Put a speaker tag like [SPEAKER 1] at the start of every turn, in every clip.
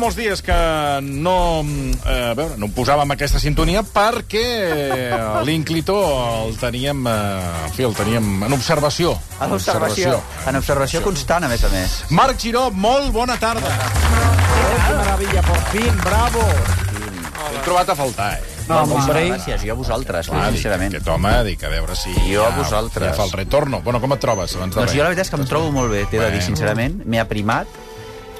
[SPEAKER 1] molts dies que no, eh, a veure, no posàvem aquesta sintonia perquè eh, l'Inclitó el teníem, eh, en fi, el teníem en observació.
[SPEAKER 2] En observació, en observació constant, a més a més.
[SPEAKER 1] Marc Giró, molt bona tarda.
[SPEAKER 3] Qué maravilla, por fin, bravo.
[SPEAKER 1] L'he trobat a faltar, eh?
[SPEAKER 2] No, hombre. Gràcies, jo a vosaltres,
[SPEAKER 1] Ah, dic,
[SPEAKER 2] sincerament.
[SPEAKER 1] Aquest home, dic, a veure si...
[SPEAKER 2] Jo a vosaltres.
[SPEAKER 1] Ja fa el retorno. Bueno, com et trobes? Abans de
[SPEAKER 2] Doncs
[SPEAKER 1] res?
[SPEAKER 2] jo la veritat és que em trobo molt bé, t'he de dir,
[SPEAKER 1] Bé.
[SPEAKER 2] sincerament. M'he aprimat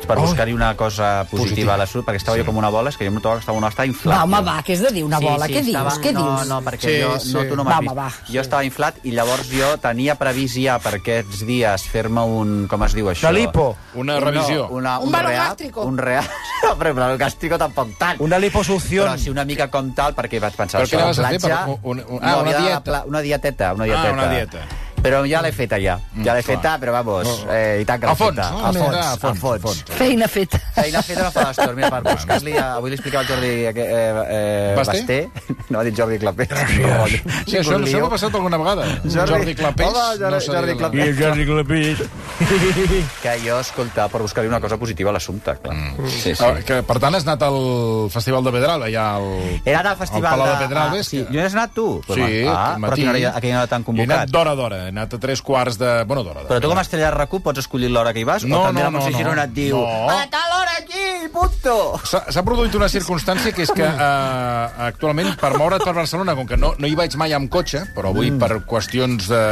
[SPEAKER 2] per buscar-hi una cosa positiva,
[SPEAKER 1] Positiva.
[SPEAKER 2] a la sud, perquè estava jo com una bola, és que jo em trobava que estava una està inflat.
[SPEAKER 4] Va, home, va, que és de dir una bola. Ah, Què dius?
[SPEAKER 2] estava-
[SPEAKER 4] Què
[SPEAKER 2] no,
[SPEAKER 4] dius?
[SPEAKER 2] No, perquè
[SPEAKER 3] Sí,
[SPEAKER 2] jo, no,
[SPEAKER 3] sí.
[SPEAKER 2] tu no m'has
[SPEAKER 4] Va,
[SPEAKER 2] vist.
[SPEAKER 4] home, va.
[SPEAKER 2] Jo estava inflat i llavors jo tenia previst ja per aquests dies fer-me un, com es diu això?
[SPEAKER 3] Una lipo.
[SPEAKER 1] Una
[SPEAKER 2] No,
[SPEAKER 1] revisió.
[SPEAKER 2] una,
[SPEAKER 4] Un
[SPEAKER 2] reap,
[SPEAKER 4] balogàstrico.
[SPEAKER 2] Un real. No, però un gàstrico tampoc tant.
[SPEAKER 3] Una liposucció.
[SPEAKER 2] Però sí, una mica com tal, perquè vaig pensar...
[SPEAKER 1] Però què
[SPEAKER 2] això,
[SPEAKER 1] anaves
[SPEAKER 2] la
[SPEAKER 1] a fer?
[SPEAKER 2] platja,
[SPEAKER 1] Per- un- un-
[SPEAKER 2] no,
[SPEAKER 1] ah, una
[SPEAKER 2] havia de
[SPEAKER 1] dieta. Ah,
[SPEAKER 2] pla- Una dieteta, una dieteta.
[SPEAKER 1] una dieta.
[SPEAKER 2] Però ja l'he feta, ja. Ja l'he
[SPEAKER 1] Mm,
[SPEAKER 2] feta,
[SPEAKER 1] clar.
[SPEAKER 2] però vamos,
[SPEAKER 1] No.
[SPEAKER 2] eh, i tant que
[SPEAKER 1] A
[SPEAKER 2] l'he
[SPEAKER 1] fons,
[SPEAKER 2] feta.
[SPEAKER 1] no? Una mica a fons, a fons.
[SPEAKER 4] Feina feta.
[SPEAKER 2] Feina Eh, feta no fa les tornes. Mira, per buscar-li... a- Avui li explicava al Jordi eh, eh,
[SPEAKER 1] Basté?
[SPEAKER 2] Basté. No, ha dit Jordi Clapé.
[SPEAKER 1] Sí, això, això m'ha passat alguna vegada.
[SPEAKER 2] Jordi-
[SPEAKER 1] Jordi Clapés.
[SPEAKER 2] Hola, Jordi-
[SPEAKER 1] se li
[SPEAKER 2] Jordi
[SPEAKER 1] dona.
[SPEAKER 2] Clapés.
[SPEAKER 3] el Jordi Clapés.
[SPEAKER 2] Que jo, escolta, per buscar-li una cosa positiva a l'assumpte, clar. Sí,
[SPEAKER 1] Ah, que, per tant, has anat al Festival de Pedralba, ja al...
[SPEAKER 2] He anat al festival
[SPEAKER 1] al Palau de,
[SPEAKER 2] de-
[SPEAKER 1] Pedralbes.
[SPEAKER 2] Ah, sí.
[SPEAKER 1] que-
[SPEAKER 2] Jo hi has anat tu? Però
[SPEAKER 1] Sí,
[SPEAKER 2] va. Ah,
[SPEAKER 1] aquest matí.
[SPEAKER 2] però a quina hora- a quina hora t'han convocat?
[SPEAKER 1] He anat d'hora a d'hora, he anat a tres quarts de... Bueno, d'hora a d'hora.
[SPEAKER 2] Però tu com a estrella de RAC1 pots escollir l'hora que hi vas?
[SPEAKER 1] No,
[SPEAKER 2] o també
[SPEAKER 1] no,
[SPEAKER 2] la Montse
[SPEAKER 1] no, no.
[SPEAKER 2] Girona et diu...
[SPEAKER 1] No.
[SPEAKER 2] A tal hora aquí, punto!
[SPEAKER 1] S'ha s'ha produït una circumstància que és que eh, actualment per moure't per Barcelona, com que no, no hi vaig mai amb cotxe, però avui mm. per qüestions de...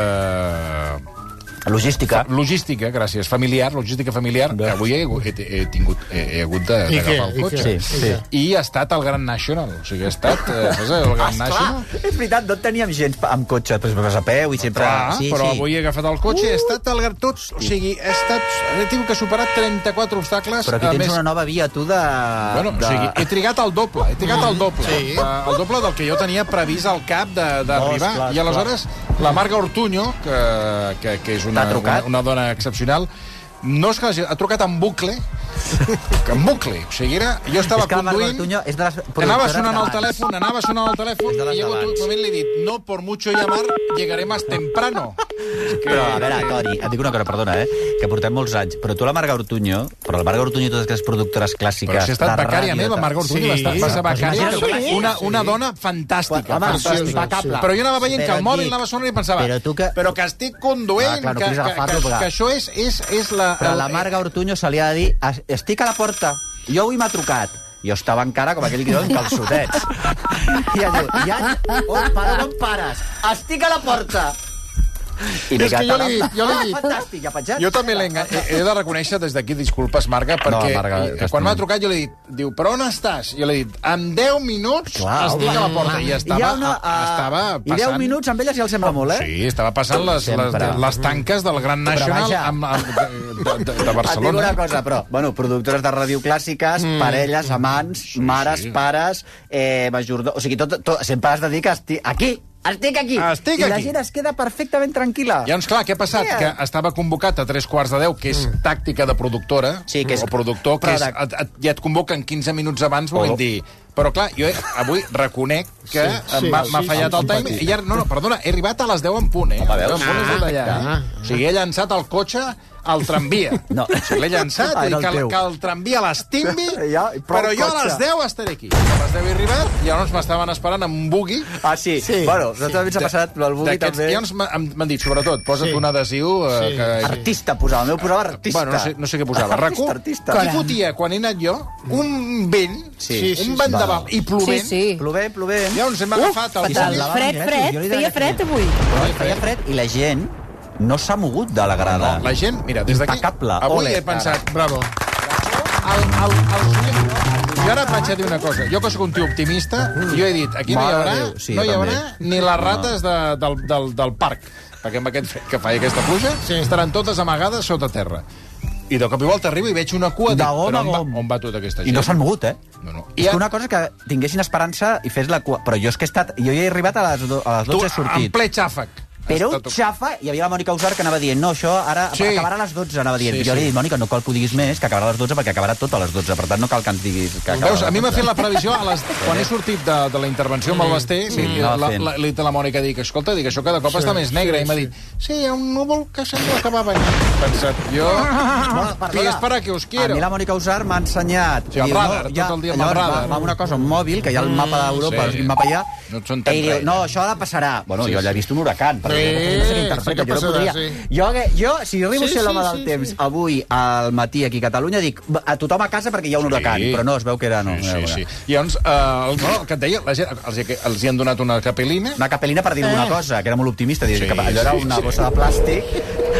[SPEAKER 2] Logística.
[SPEAKER 1] logística, gràcies, familiar, logística familiar, que avui he, he, he, tingut, he, he hagut de- d'agafar el cotxe.
[SPEAKER 2] Sí, sí.
[SPEAKER 1] I ha estat al Gran National. O sigui, ha estat, eh, saps, el Gran National.
[SPEAKER 2] és veritat, no teníem gent pa- amb cotxe, però vas a peu i sempre...
[SPEAKER 1] Clar,
[SPEAKER 2] sí,
[SPEAKER 1] però
[SPEAKER 2] sí.
[SPEAKER 1] avui he agafat el cotxe, uh! he estat al Gran... Tots, o sigui, he estat... He tingut que superar 34 obstacles.
[SPEAKER 2] Però aquí
[SPEAKER 1] a
[SPEAKER 2] tens una nova via, tu, de...
[SPEAKER 1] Bueno,
[SPEAKER 2] de...
[SPEAKER 1] o sigui, he trigat el doble, he trigat el doble. Sí. El doble del que jo tenia previst al cap de- d'arribar.
[SPEAKER 2] Dos, clar,
[SPEAKER 1] I aleshores, la Marga Ortuño, que, que, que és una,
[SPEAKER 2] T'ha
[SPEAKER 1] una,
[SPEAKER 2] trucat?
[SPEAKER 1] una dona excepcional, no és que hagi- ha trucat en bucle, que en bucle. O sigui, era, jo estava
[SPEAKER 2] és que la Marga
[SPEAKER 1] conduint...
[SPEAKER 2] Ortuño és de les
[SPEAKER 1] Anava
[SPEAKER 2] productores
[SPEAKER 1] sonant el
[SPEAKER 2] d'abans.
[SPEAKER 1] telèfon, anava sonant el telèfon,
[SPEAKER 2] És de les
[SPEAKER 1] i llegó un
[SPEAKER 2] d'abans.
[SPEAKER 1] moment li he dit, no, por mucho llamar, llegaré más temprano.
[SPEAKER 2] Però, a veure, Toni, et dic una cosa, perdona, eh? Que portem molts anys. Però tu, la Marga Ortuño, però la Marga Ortuño i totes aquestes productores clàssiques...
[SPEAKER 1] Però si ha estat
[SPEAKER 2] de
[SPEAKER 1] becària
[SPEAKER 2] ràdio,
[SPEAKER 1] meva,
[SPEAKER 2] tal.
[SPEAKER 1] Marga Ortuño, sí, va, estar, va ser becària.
[SPEAKER 2] Sí.
[SPEAKER 1] Una, una dona fantàstica.
[SPEAKER 2] Home,
[SPEAKER 1] fantàstica.
[SPEAKER 2] impecable.
[SPEAKER 1] Però jo anava veient que
[SPEAKER 2] Però
[SPEAKER 1] el mòbil
[SPEAKER 2] dic-
[SPEAKER 1] anava sonant i pensava
[SPEAKER 2] però tu que-
[SPEAKER 1] però que estic conduint,
[SPEAKER 2] Ah, clar, no
[SPEAKER 1] que,
[SPEAKER 2] puguis
[SPEAKER 1] que, que,
[SPEAKER 2] agafar-lo,
[SPEAKER 1] que,
[SPEAKER 2] clar.
[SPEAKER 1] això és, és, és la...
[SPEAKER 2] Però a la
[SPEAKER 1] el- eh,
[SPEAKER 2] Marga Ortuño se li ha de dir "Es- estic a la porta, jo avui m'ha trucat. Jo estava encara com aquell que diu en calçotets. I ella diu, ja, on pares, on pares? Estic a la porta. I
[SPEAKER 1] És que jo li he dit, jo li he
[SPEAKER 2] Ah,
[SPEAKER 1] dit.
[SPEAKER 2] Fantàstic, ja penjat.
[SPEAKER 1] Jo també l'he enga- he, he de reconèixer des d'aquí, disculpes, Marga, perquè
[SPEAKER 2] Marga,
[SPEAKER 1] eh,
[SPEAKER 2] t'estimem.
[SPEAKER 1] quan m'ha trucat jo li he dit, diu, però on estàs? Jo li he dit, en 10 minuts
[SPEAKER 2] Clar,
[SPEAKER 1] estic a la
[SPEAKER 2] home.
[SPEAKER 1] porta. I estava,
[SPEAKER 2] ah,
[SPEAKER 1] estava
[SPEAKER 2] I 10
[SPEAKER 1] passant...
[SPEAKER 2] minuts amb ella ja els sembla molt, eh?
[SPEAKER 1] Sí, estava passant les, les,
[SPEAKER 2] Sempre.
[SPEAKER 1] les tanques del Gran National
[SPEAKER 2] vaja.
[SPEAKER 1] amb, amb, de, de, de
[SPEAKER 2] Et dic
[SPEAKER 1] Barcelona.
[SPEAKER 2] una cosa, però, bueno, productores de ràdio clàssiques, mm. parelles, amants, sí, mares,
[SPEAKER 1] sí.
[SPEAKER 2] sí. pares, eh, majordó... O sigui, tot, tot, sempre has de dir que estic aquí, estic aquí.
[SPEAKER 1] Ah, Estic
[SPEAKER 2] I la
[SPEAKER 1] aquí.
[SPEAKER 2] gent es queda perfectament tranquil·la.
[SPEAKER 1] Llavors, clar, què ha passat?
[SPEAKER 2] Sí.
[SPEAKER 1] Que estava convocat a tres quarts de deu, que és tàctica de productora,
[SPEAKER 2] Mm. Sí, que és-
[SPEAKER 1] o productor, que és,
[SPEAKER 2] Product. Oh.
[SPEAKER 1] et, et, ja et convoquen 15 minuts abans, volent dir... Però, clar, jo he- avui reconec que sí, m'ha m'ha fallat el time. I ara, no, no, perdona, he arribat a les 10 en punt, eh? A les 10 en punt he estat
[SPEAKER 2] Ah,
[SPEAKER 1] allà. eh? O sigui, he llançat el cotxe al tramvia.
[SPEAKER 2] No. Ah,
[SPEAKER 1] O sigui, L'he llançat,
[SPEAKER 2] Era
[SPEAKER 1] he dit
[SPEAKER 2] el
[SPEAKER 1] que, el-
[SPEAKER 2] teu.
[SPEAKER 1] que el tramvia l'estimbi,
[SPEAKER 2] Ja, i prou
[SPEAKER 1] però jo a
[SPEAKER 2] cotxe.
[SPEAKER 1] les 10 estaré aquí. A les 10 he arribat, i llavors m'estaven esperant amb un bugui,
[SPEAKER 2] Ah, sí. sí. Bueno, nosaltres també ens ha passat, però el Bugui
[SPEAKER 1] D'aquests
[SPEAKER 2] també...
[SPEAKER 1] guions m'han m'han dit, sobretot, posa't sí. un adhesiu... Eh, sí. que...
[SPEAKER 2] Artista posava, el meu posava artista.
[SPEAKER 1] Bueno, no sé, no sé què posava.
[SPEAKER 2] Artista,
[SPEAKER 1] Racó,
[SPEAKER 2] artista. Mm.
[SPEAKER 1] qui fotia, quan he anat jo, un vent,
[SPEAKER 2] Sí, sí,
[SPEAKER 1] un
[SPEAKER 2] sí,
[SPEAKER 1] vent
[SPEAKER 2] sí.
[SPEAKER 1] de val, i
[SPEAKER 4] Sí,
[SPEAKER 1] plovent.
[SPEAKER 4] sí.
[SPEAKER 2] Plovent, plovent.
[SPEAKER 1] Llavors hem agafat el
[SPEAKER 2] fatal,
[SPEAKER 1] bugui.
[SPEAKER 2] la va-
[SPEAKER 4] Fred,
[SPEAKER 2] eh?
[SPEAKER 4] fred,
[SPEAKER 2] Jo li
[SPEAKER 4] feia
[SPEAKER 2] deia que
[SPEAKER 4] fred
[SPEAKER 2] sí.
[SPEAKER 4] avui.
[SPEAKER 2] Però feia fred i la gent no s'ha mogut de la grada.
[SPEAKER 1] La gent, mira, des d'aquí...
[SPEAKER 2] Impecable.
[SPEAKER 1] Avui
[SPEAKER 2] Ole,
[SPEAKER 1] he pensat... Bravo. El, el, el, jo ara et vaig a dir una cosa. Jo que sóc un tio optimista, jo he dit, aquí no hi
[SPEAKER 2] Mare
[SPEAKER 1] haurà,
[SPEAKER 2] Déu, sí,
[SPEAKER 1] no hi
[SPEAKER 2] jo
[SPEAKER 1] haurà
[SPEAKER 2] també.
[SPEAKER 1] ni les rates de, del, del, del parc, perquè amb aquest fred que fa i aquesta pluja sí. estaran totes amagades sota terra. I de cop i volta arribo i veig una cua...
[SPEAKER 2] De
[SPEAKER 1] dic,
[SPEAKER 2] gom
[SPEAKER 1] però
[SPEAKER 2] a
[SPEAKER 1] on va,
[SPEAKER 2] gom.
[SPEAKER 1] on va tota aquesta gent?
[SPEAKER 2] I no s'han mogut, eh?
[SPEAKER 1] No, no. I a-
[SPEAKER 2] És que una cosa és que tinguessin esperança i fes la cua... Però jo és que he estat... Jo hi he arribat a les, do... a les
[SPEAKER 1] Tu,
[SPEAKER 2] 12 he
[SPEAKER 1] en
[SPEAKER 2] sortit.
[SPEAKER 1] ple xàfec.
[SPEAKER 2] Però un
[SPEAKER 1] Està tot-
[SPEAKER 2] xafa... Hi havia la Mònica Usar que anava dient, no, això ara
[SPEAKER 1] Sí.
[SPEAKER 2] sí. acabarà a les 12, anava dient.
[SPEAKER 1] Sí,
[SPEAKER 2] Sí, jo
[SPEAKER 1] sí.
[SPEAKER 2] li he dit, Mònica, no cal que ho diguis més, que acabarà a les 12, perquè acabarà tot a les 12. Per tant, no cal que ens diguis que acabarà
[SPEAKER 1] Veus,
[SPEAKER 2] a
[SPEAKER 1] a
[SPEAKER 2] les
[SPEAKER 1] mi m'ha
[SPEAKER 2] 12.
[SPEAKER 1] fet la previsió, a les, quan he sortit de, de la intervenció amb el Basté, li, li,
[SPEAKER 2] Anava
[SPEAKER 1] la,
[SPEAKER 2] fent.
[SPEAKER 1] la, li té la Mònica dic, escolta, dic, això cada cop està més negre, i m'ha dit, sí, hi ha un núvol que sembla que va venir. He Pensat, jo...
[SPEAKER 2] Perdona,
[SPEAKER 1] Pies para que os
[SPEAKER 2] A
[SPEAKER 1] quiero.
[SPEAKER 2] mi la Mònica Usar m'ha ensenyat.
[SPEAKER 1] Sí, el radar, tot el dia amb el
[SPEAKER 2] llavors va,
[SPEAKER 1] radar.
[SPEAKER 2] va amb una cosa, un mòbil, que hi ha el mapa d'Europa,
[SPEAKER 1] sí.
[SPEAKER 2] sí. el mapa allà,
[SPEAKER 1] No et s'entén
[SPEAKER 2] i diu,
[SPEAKER 1] res.
[SPEAKER 2] no, això ara passarà. Bueno,
[SPEAKER 1] eh? Sí,
[SPEAKER 2] jo
[SPEAKER 1] sí.
[SPEAKER 2] allà he vist un huracan, però
[SPEAKER 5] Sí,
[SPEAKER 2] jo no sé què interpreta,
[SPEAKER 5] sí que
[SPEAKER 2] jo no
[SPEAKER 5] passarà,
[SPEAKER 2] podria. Jo, que- jo, si jo arribo
[SPEAKER 5] Sí,
[SPEAKER 2] a ser l'home
[SPEAKER 5] sí,
[SPEAKER 2] del
[SPEAKER 5] sí,
[SPEAKER 2] temps avui al matí aquí a Catalunya, dic, "Va, a tothom a casa perquè hi ha un huracan, però no, es veu que era... No,
[SPEAKER 1] Sí,
[SPEAKER 2] era
[SPEAKER 1] sí, sí.
[SPEAKER 2] huracan.
[SPEAKER 1] I llavors, eh, el, no, el que et deia, la gent, els, hi- els hi han donat una capelina,
[SPEAKER 2] una capelina per dir alguna una cosa, que era molt optimista, dir
[SPEAKER 1] Sí,
[SPEAKER 2] que allò era
[SPEAKER 1] sí,
[SPEAKER 2] una
[SPEAKER 1] sí.
[SPEAKER 2] bossa de plàstic.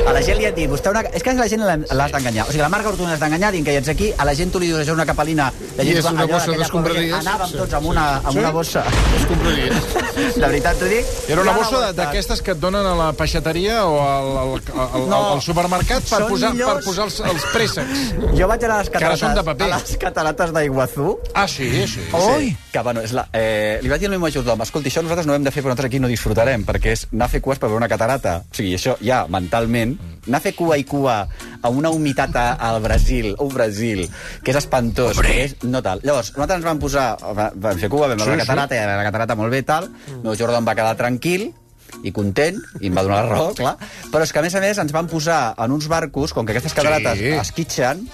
[SPEAKER 2] A la gent li han dit, vostè una... És que la gent l'han- l'has d'enganyar. O sigui, la marca Ortuna l'has d'enganyar, dient que hi ets aquí, a la gent tu li dius, això és una capelina. La
[SPEAKER 5] I
[SPEAKER 2] gent
[SPEAKER 5] és
[SPEAKER 2] va,
[SPEAKER 5] una
[SPEAKER 2] allò,
[SPEAKER 5] bossa
[SPEAKER 2] aquella
[SPEAKER 5] d'escombraries.
[SPEAKER 2] cosa, Anàvem
[SPEAKER 5] Sí,
[SPEAKER 2] tots amb una, amb una bossa.
[SPEAKER 5] Escombraries.
[SPEAKER 2] De veritat t'ho dic.
[SPEAKER 1] era una
[SPEAKER 2] Ja la
[SPEAKER 1] bossa de-
[SPEAKER 2] volta.
[SPEAKER 1] d'aquestes que et donen a la peixateria o al, al, al, al,
[SPEAKER 2] No.
[SPEAKER 1] al supermercat per
[SPEAKER 2] Són
[SPEAKER 1] posar, per
[SPEAKER 2] millors.
[SPEAKER 1] posar els, els préssecs.
[SPEAKER 2] Jo vaig anar a les
[SPEAKER 1] Que ara
[SPEAKER 2] catarates,
[SPEAKER 1] són de paper.
[SPEAKER 2] a les catarates d'Iguazú,
[SPEAKER 1] Ah, sí, sí.
[SPEAKER 2] Sí. Que, bueno, és la, eh, li vaig dir al meu majordom, escolta, això nosaltres no ho hem de fer, però nosaltres aquí no disfrutarem, perquè és anar a fer cues per veure una catarata. O sigui, això ja, mentalment,
[SPEAKER 1] Mm.
[SPEAKER 2] anar a fer cua i cua a una humitat a, al Brasil, un Brasil, que és espantós, que és no tal. Llavors, nosaltres ens vam posar, va- vam fer cua, vam veure
[SPEAKER 1] Sí, Mm.
[SPEAKER 2] la catarata, i la catarata molt bé, tal. El meu Jordan va quedar tranquil, i content, i em va donar la raó, clar. Però és que, a més a més, ens van posar en uns barcos, com que aquestes catarates
[SPEAKER 1] Sí. Mm.
[SPEAKER 2] sí. esquitxen,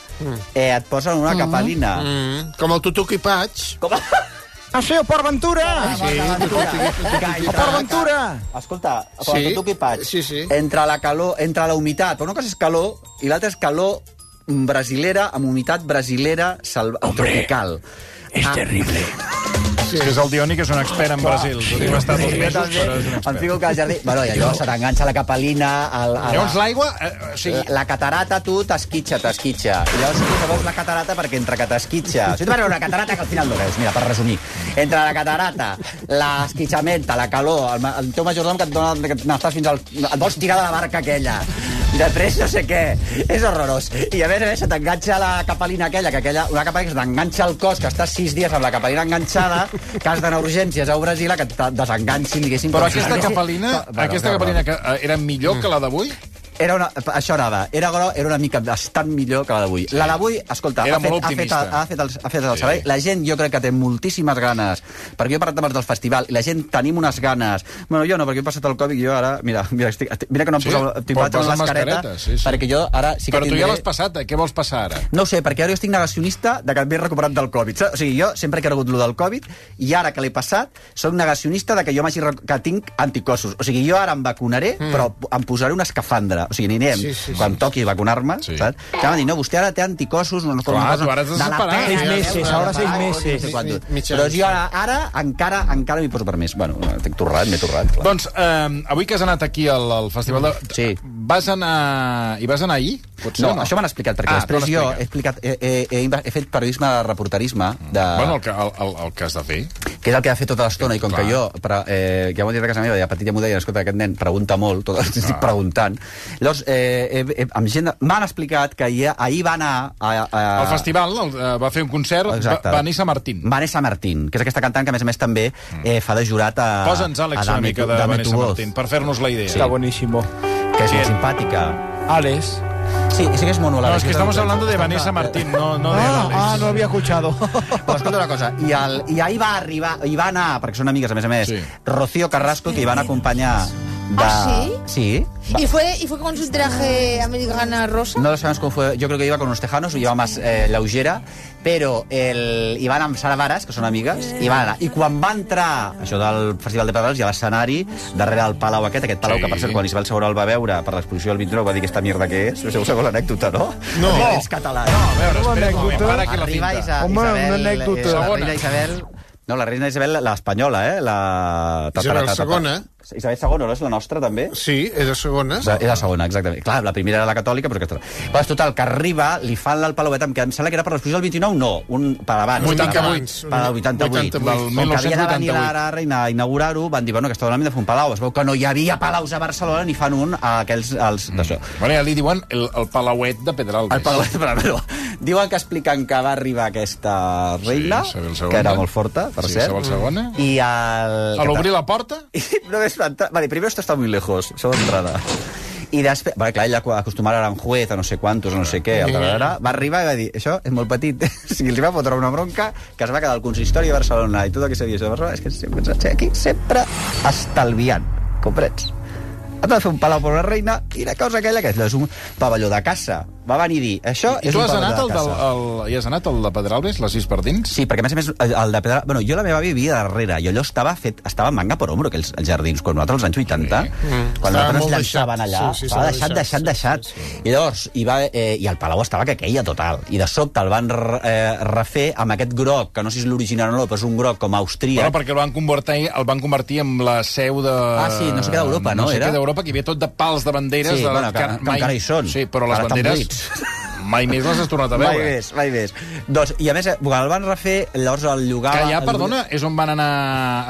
[SPEAKER 2] eh, et posen una capelina.
[SPEAKER 5] Mm, com el Tutuki Patch.
[SPEAKER 2] Com a...
[SPEAKER 3] Ah, sí, el Port Ventura!
[SPEAKER 2] Sí,
[SPEAKER 3] El Port Ventura!
[SPEAKER 2] Escolta,
[SPEAKER 5] Sí.
[SPEAKER 2] sí, tu què faig?
[SPEAKER 5] Sí, sí.
[SPEAKER 2] Entre la calor, entre la humitat, però una cosa és calor i l'altra és calor brasilera, amb humitat brasilera salva... tropical. Ah.
[SPEAKER 3] És terrible.
[SPEAKER 1] Sí. És que és el Dioni, que és un expert en Brasil. Sí, Hem estat dos mesos, però és un
[SPEAKER 2] Em
[SPEAKER 1] expert.
[SPEAKER 2] fico que al jardí... Bueno, i allò se t'enganxa la capelina, al, a
[SPEAKER 1] Llavors
[SPEAKER 2] la,
[SPEAKER 1] l'aigua, eh, o sigui,
[SPEAKER 2] la, la catarata, tu t'esquitxa, t'esquitxa. I Llavors tu no veus la catarata perquè entre que t'esquitxa... Si tu veus una catarata que al final no veus, mira, per resumir. Entre la catarata, l'esquitxamenta, la calor, el, ma- el teu majordom que et dona... Que n'estàs fins al... Et vols tirar de la barca aquella. Després no sé què. És horrorós. I a més a més se t'enganxa la capelina aquella, que aquella, una capelina que se t'enganxa al cos, que estàs sis dies amb la capelina enganxada, que has d'anar a urgències a Brasil, que et te- desenganxin, diguéssim.
[SPEAKER 1] però
[SPEAKER 2] com si
[SPEAKER 1] aquesta
[SPEAKER 2] estiguessis-
[SPEAKER 1] capelina,
[SPEAKER 2] eh, doncs, Bueno,
[SPEAKER 1] aquesta
[SPEAKER 2] bueno,
[SPEAKER 1] capelina que eh, era millor que la d'avui,
[SPEAKER 2] era una, això anava. Era, gro- era una mica bastant millor que la d'avui. La d'avui, escolta,
[SPEAKER 1] Era
[SPEAKER 2] ha fet,
[SPEAKER 1] molt
[SPEAKER 2] ha fet, el,
[SPEAKER 1] optimista.
[SPEAKER 2] ha fet el, ha fet el servei. La gent jo crec que té moltíssimes ganes, perquè jo he parlat abans del festival, i la gent tenim unes ganes. Bueno, jo no, perquè he passat el Covid i jo ara... Mira, mira, estic, mira que no em
[SPEAKER 1] Sí,
[SPEAKER 2] poso...
[SPEAKER 1] però
[SPEAKER 2] posat
[SPEAKER 1] vas
[SPEAKER 2] una
[SPEAKER 1] amb mascareta, sí, sí.
[SPEAKER 2] Perquè jo ara sí que
[SPEAKER 1] però tu ja
[SPEAKER 2] tindré-
[SPEAKER 1] l'has passat, eh? què vols passar ara?
[SPEAKER 2] no ho sé, perquè ara jo estic negacionista de que m'he recuperat del Covid. O sigui, jo sempre he cregut lo del Covid i ara que l'he passat, sóc negacionista de que jo m'hagi rec- que tinc anticossos. O sigui, jo ara em vacunaré, mm. però em posaré una escafandra. O sigui, anirem, sí, sí, quan sí. toqui vacunar-me,
[SPEAKER 1] Sí.
[SPEAKER 2] sí. saps? Que m'han dit, no, vostè ara té anticossos... Una, cosa-
[SPEAKER 1] Clar,
[SPEAKER 2] una cosa,
[SPEAKER 1] tu ara has de
[SPEAKER 2] de la
[SPEAKER 1] superar.
[SPEAKER 2] pell,
[SPEAKER 3] Seis
[SPEAKER 2] eh?
[SPEAKER 3] meses,
[SPEAKER 2] Una
[SPEAKER 3] ahora
[SPEAKER 2] cosa,
[SPEAKER 3] seis
[SPEAKER 2] ai,
[SPEAKER 3] meses.
[SPEAKER 2] no sé quant dura.
[SPEAKER 5] Mig- mig
[SPEAKER 2] Però
[SPEAKER 5] any,
[SPEAKER 2] jo ara, ara encara, encara m'hi poso per més. Bueno, estic torrat, m'he torrat, clar.
[SPEAKER 1] Doncs eh, avui que has anat aquí al, al festival de...
[SPEAKER 2] Sí.
[SPEAKER 1] Vas anar... Hi vas anar ahir? Potser
[SPEAKER 2] No,
[SPEAKER 1] no?
[SPEAKER 2] això m'han explicat, perquè
[SPEAKER 1] Ah,
[SPEAKER 2] ah,
[SPEAKER 1] t'ho
[SPEAKER 2] després
[SPEAKER 1] han
[SPEAKER 2] jo he,
[SPEAKER 1] explicat.
[SPEAKER 2] explicat, he, he, he, he fet periodisme de reporterisme de,
[SPEAKER 1] Ah. Bueno, el que, el, el, el que has de fer.
[SPEAKER 2] que és el que ha fet tota l'estona, i com
[SPEAKER 1] Clar.
[SPEAKER 2] que jo, però, eh, ja m'ho he dit a casa meva, i a petit ja m'ho deien, escolta, aquest nen pregunta molt, tot, estic preguntant. Llavors, eh, eh, eh, amb gent... de- M'han explicat que ahir, ahir va anar... A, a,
[SPEAKER 1] Al festival el, eh, va fer un concert
[SPEAKER 2] Ah. Exacte.
[SPEAKER 1] Va, Vanessa Martín.
[SPEAKER 2] Vanessa Martín, que és aquesta cantant que, a més a més, també eh, fa de jurat a...
[SPEAKER 1] Mm. Posa'ns, Àlex,
[SPEAKER 2] a
[SPEAKER 1] una
[SPEAKER 2] Dame
[SPEAKER 1] mica
[SPEAKER 2] Tu-
[SPEAKER 1] de
[SPEAKER 2] Dame Tu
[SPEAKER 1] Vanessa
[SPEAKER 2] Voz,
[SPEAKER 1] Martín, per fer-nos la idea.
[SPEAKER 3] Está buenísimo.
[SPEAKER 2] Que és
[SPEAKER 1] Sí.
[SPEAKER 2] molt simpàtica.
[SPEAKER 3] Alex.
[SPEAKER 2] Sí, sí que és monòleg.
[SPEAKER 1] No, es que estamos hablando de Vanessa Martín, no, no de
[SPEAKER 3] Ah,
[SPEAKER 1] Alex.
[SPEAKER 3] ah, no había escuchado.
[SPEAKER 2] Però escolta una cosa, i, el, i ahir va arribar, hi va anar, perquè són amigues, a més a més,
[SPEAKER 1] Sí.
[SPEAKER 2] sí. Rocío Carrasco, que hi van acompanyar de...
[SPEAKER 6] Ah,
[SPEAKER 2] Sí. Sí,
[SPEAKER 6] ¿Y fue, ¿Y fue con su traje americana rosa?
[SPEAKER 2] No lo sabemos cómo fue. Yo creo que iba con unos tejanos, o lleva más eh, la ullera, però el, hi van amb Sara Varas, que són amigues, i van anar. I quan va entrar, això del Festival de Pedrals, ja a l'escenari, darrere del palau aquest, aquest palau
[SPEAKER 1] Sí.
[SPEAKER 2] sí. que, per cert, quan Isabel Segura el va veure per l'exposició del 29, va dir que esta mierda que és. No sé, us sabeu l'anècdota, no?
[SPEAKER 1] No.
[SPEAKER 2] És català. No,
[SPEAKER 1] A veure, espera un moment,
[SPEAKER 3] anècdota.
[SPEAKER 1] para aquí la
[SPEAKER 2] Arriba
[SPEAKER 1] cinta.
[SPEAKER 2] Isa,
[SPEAKER 3] Home,
[SPEAKER 2] Isabel,
[SPEAKER 3] una anècdota.
[SPEAKER 2] eh, la
[SPEAKER 1] Segona.
[SPEAKER 2] reina Isabel... No, la reina Isabel, l'espanyola, eh? La...
[SPEAKER 5] Isabel
[SPEAKER 2] ta- ta- ta- ta-
[SPEAKER 5] segona.
[SPEAKER 2] Isabel segona, no és la nostra, també?
[SPEAKER 5] Sí, és la segona.
[SPEAKER 2] És la, és la segona, exactament. Clar, la primera era la catòlica, però aquesta... Pues, total, que arriba, li fan el palauet, em que em sembla que era per l'exposició del 29, no, un per abans.
[SPEAKER 5] 88.
[SPEAKER 2] Per el 88.
[SPEAKER 5] Del
[SPEAKER 2] Com que havia de
[SPEAKER 1] 1988.
[SPEAKER 2] venir la reina a inaugurar-ho, van dir, bueno, aquesta dona m'hi ha de fer un palau. Es veu que no hi havia palaus a Barcelona, ni fan un a aquells... Els,
[SPEAKER 1] Mm.
[SPEAKER 2] d'això.
[SPEAKER 1] Bueno, ja li diuen el, el palauet de Pedralbes.
[SPEAKER 2] El Palau de Palamelo. Diuen que expliquen que va arribar aquesta reina,
[SPEAKER 1] Isabel segona.
[SPEAKER 2] que era molt forta, per
[SPEAKER 1] Sí,
[SPEAKER 2] cert.
[SPEAKER 1] Isabel segona.
[SPEAKER 2] I el...
[SPEAKER 1] A l'obrir la porta?
[SPEAKER 2] I només es la entrada. Vale, primero esto está muy lejos, solo entrada. I després... Vale, clar, ella acostumada a Aranjuez, a no sé quantos, a no sé què, a tardarà, va arribar i va dir, això és molt petit. O sigui, li va fotre una bronca que es va quedar al consistori de Barcelona i tot el que se diu de Barcelona és que sempre s'ha aquí, sempre estalviant, comprens? Hem de fer un palau per una reina i la cosa aquella que és, és un pavelló de caça. Va venir a dir, això
[SPEAKER 1] I
[SPEAKER 2] és
[SPEAKER 1] tu
[SPEAKER 2] un
[SPEAKER 1] has
[SPEAKER 2] pavelló
[SPEAKER 1] anat,
[SPEAKER 2] de
[SPEAKER 1] al, del,
[SPEAKER 2] caça.
[SPEAKER 1] al, hi has anat al de Pedralbes, les sis partins?
[SPEAKER 2] Sí, perquè a més a més el el de pedra... Bueno, jo la meva àvia vivia darrere i allò estava fet... Estava manga per ombro, aquells els jardins, quan nosaltres als anys 80, quan
[SPEAKER 5] Mm. Estava
[SPEAKER 2] nosaltres
[SPEAKER 5] molt
[SPEAKER 2] llançaven
[SPEAKER 5] deixat.
[SPEAKER 2] allà,
[SPEAKER 5] Sí, sí,
[SPEAKER 2] estava
[SPEAKER 5] estava
[SPEAKER 2] deixat, deixat, deixat. I llavors, hi va, eh, i el palau estava que queia total. I de sobte el van re- eh, refer amb aquest groc, que no sé si és l'original o no, però és un groc com
[SPEAKER 1] Bueno,
[SPEAKER 2] austríac.
[SPEAKER 1] perquè el van convertir, el van convertir en la seu de...
[SPEAKER 2] eh? Ah, sí, no sé què d'Europa, no,
[SPEAKER 1] No sé
[SPEAKER 2] era?
[SPEAKER 1] què d'Europa, que hi havia tot de pals de banderes.
[SPEAKER 2] Sí,
[SPEAKER 1] de
[SPEAKER 2] bueno, que-
[SPEAKER 1] cap-
[SPEAKER 2] que encara hi són.
[SPEAKER 1] Sí, però les
[SPEAKER 2] Ara estan
[SPEAKER 1] banderes...
[SPEAKER 2] buits.
[SPEAKER 1] Mai més les has tornat a
[SPEAKER 2] Mai
[SPEAKER 1] veure.
[SPEAKER 2] més, mai més. Doncs, I a més, eh, quan el van refer, llavors el llogava...
[SPEAKER 1] Que allà,
[SPEAKER 2] Ah, el-
[SPEAKER 1] perdona, és on van anar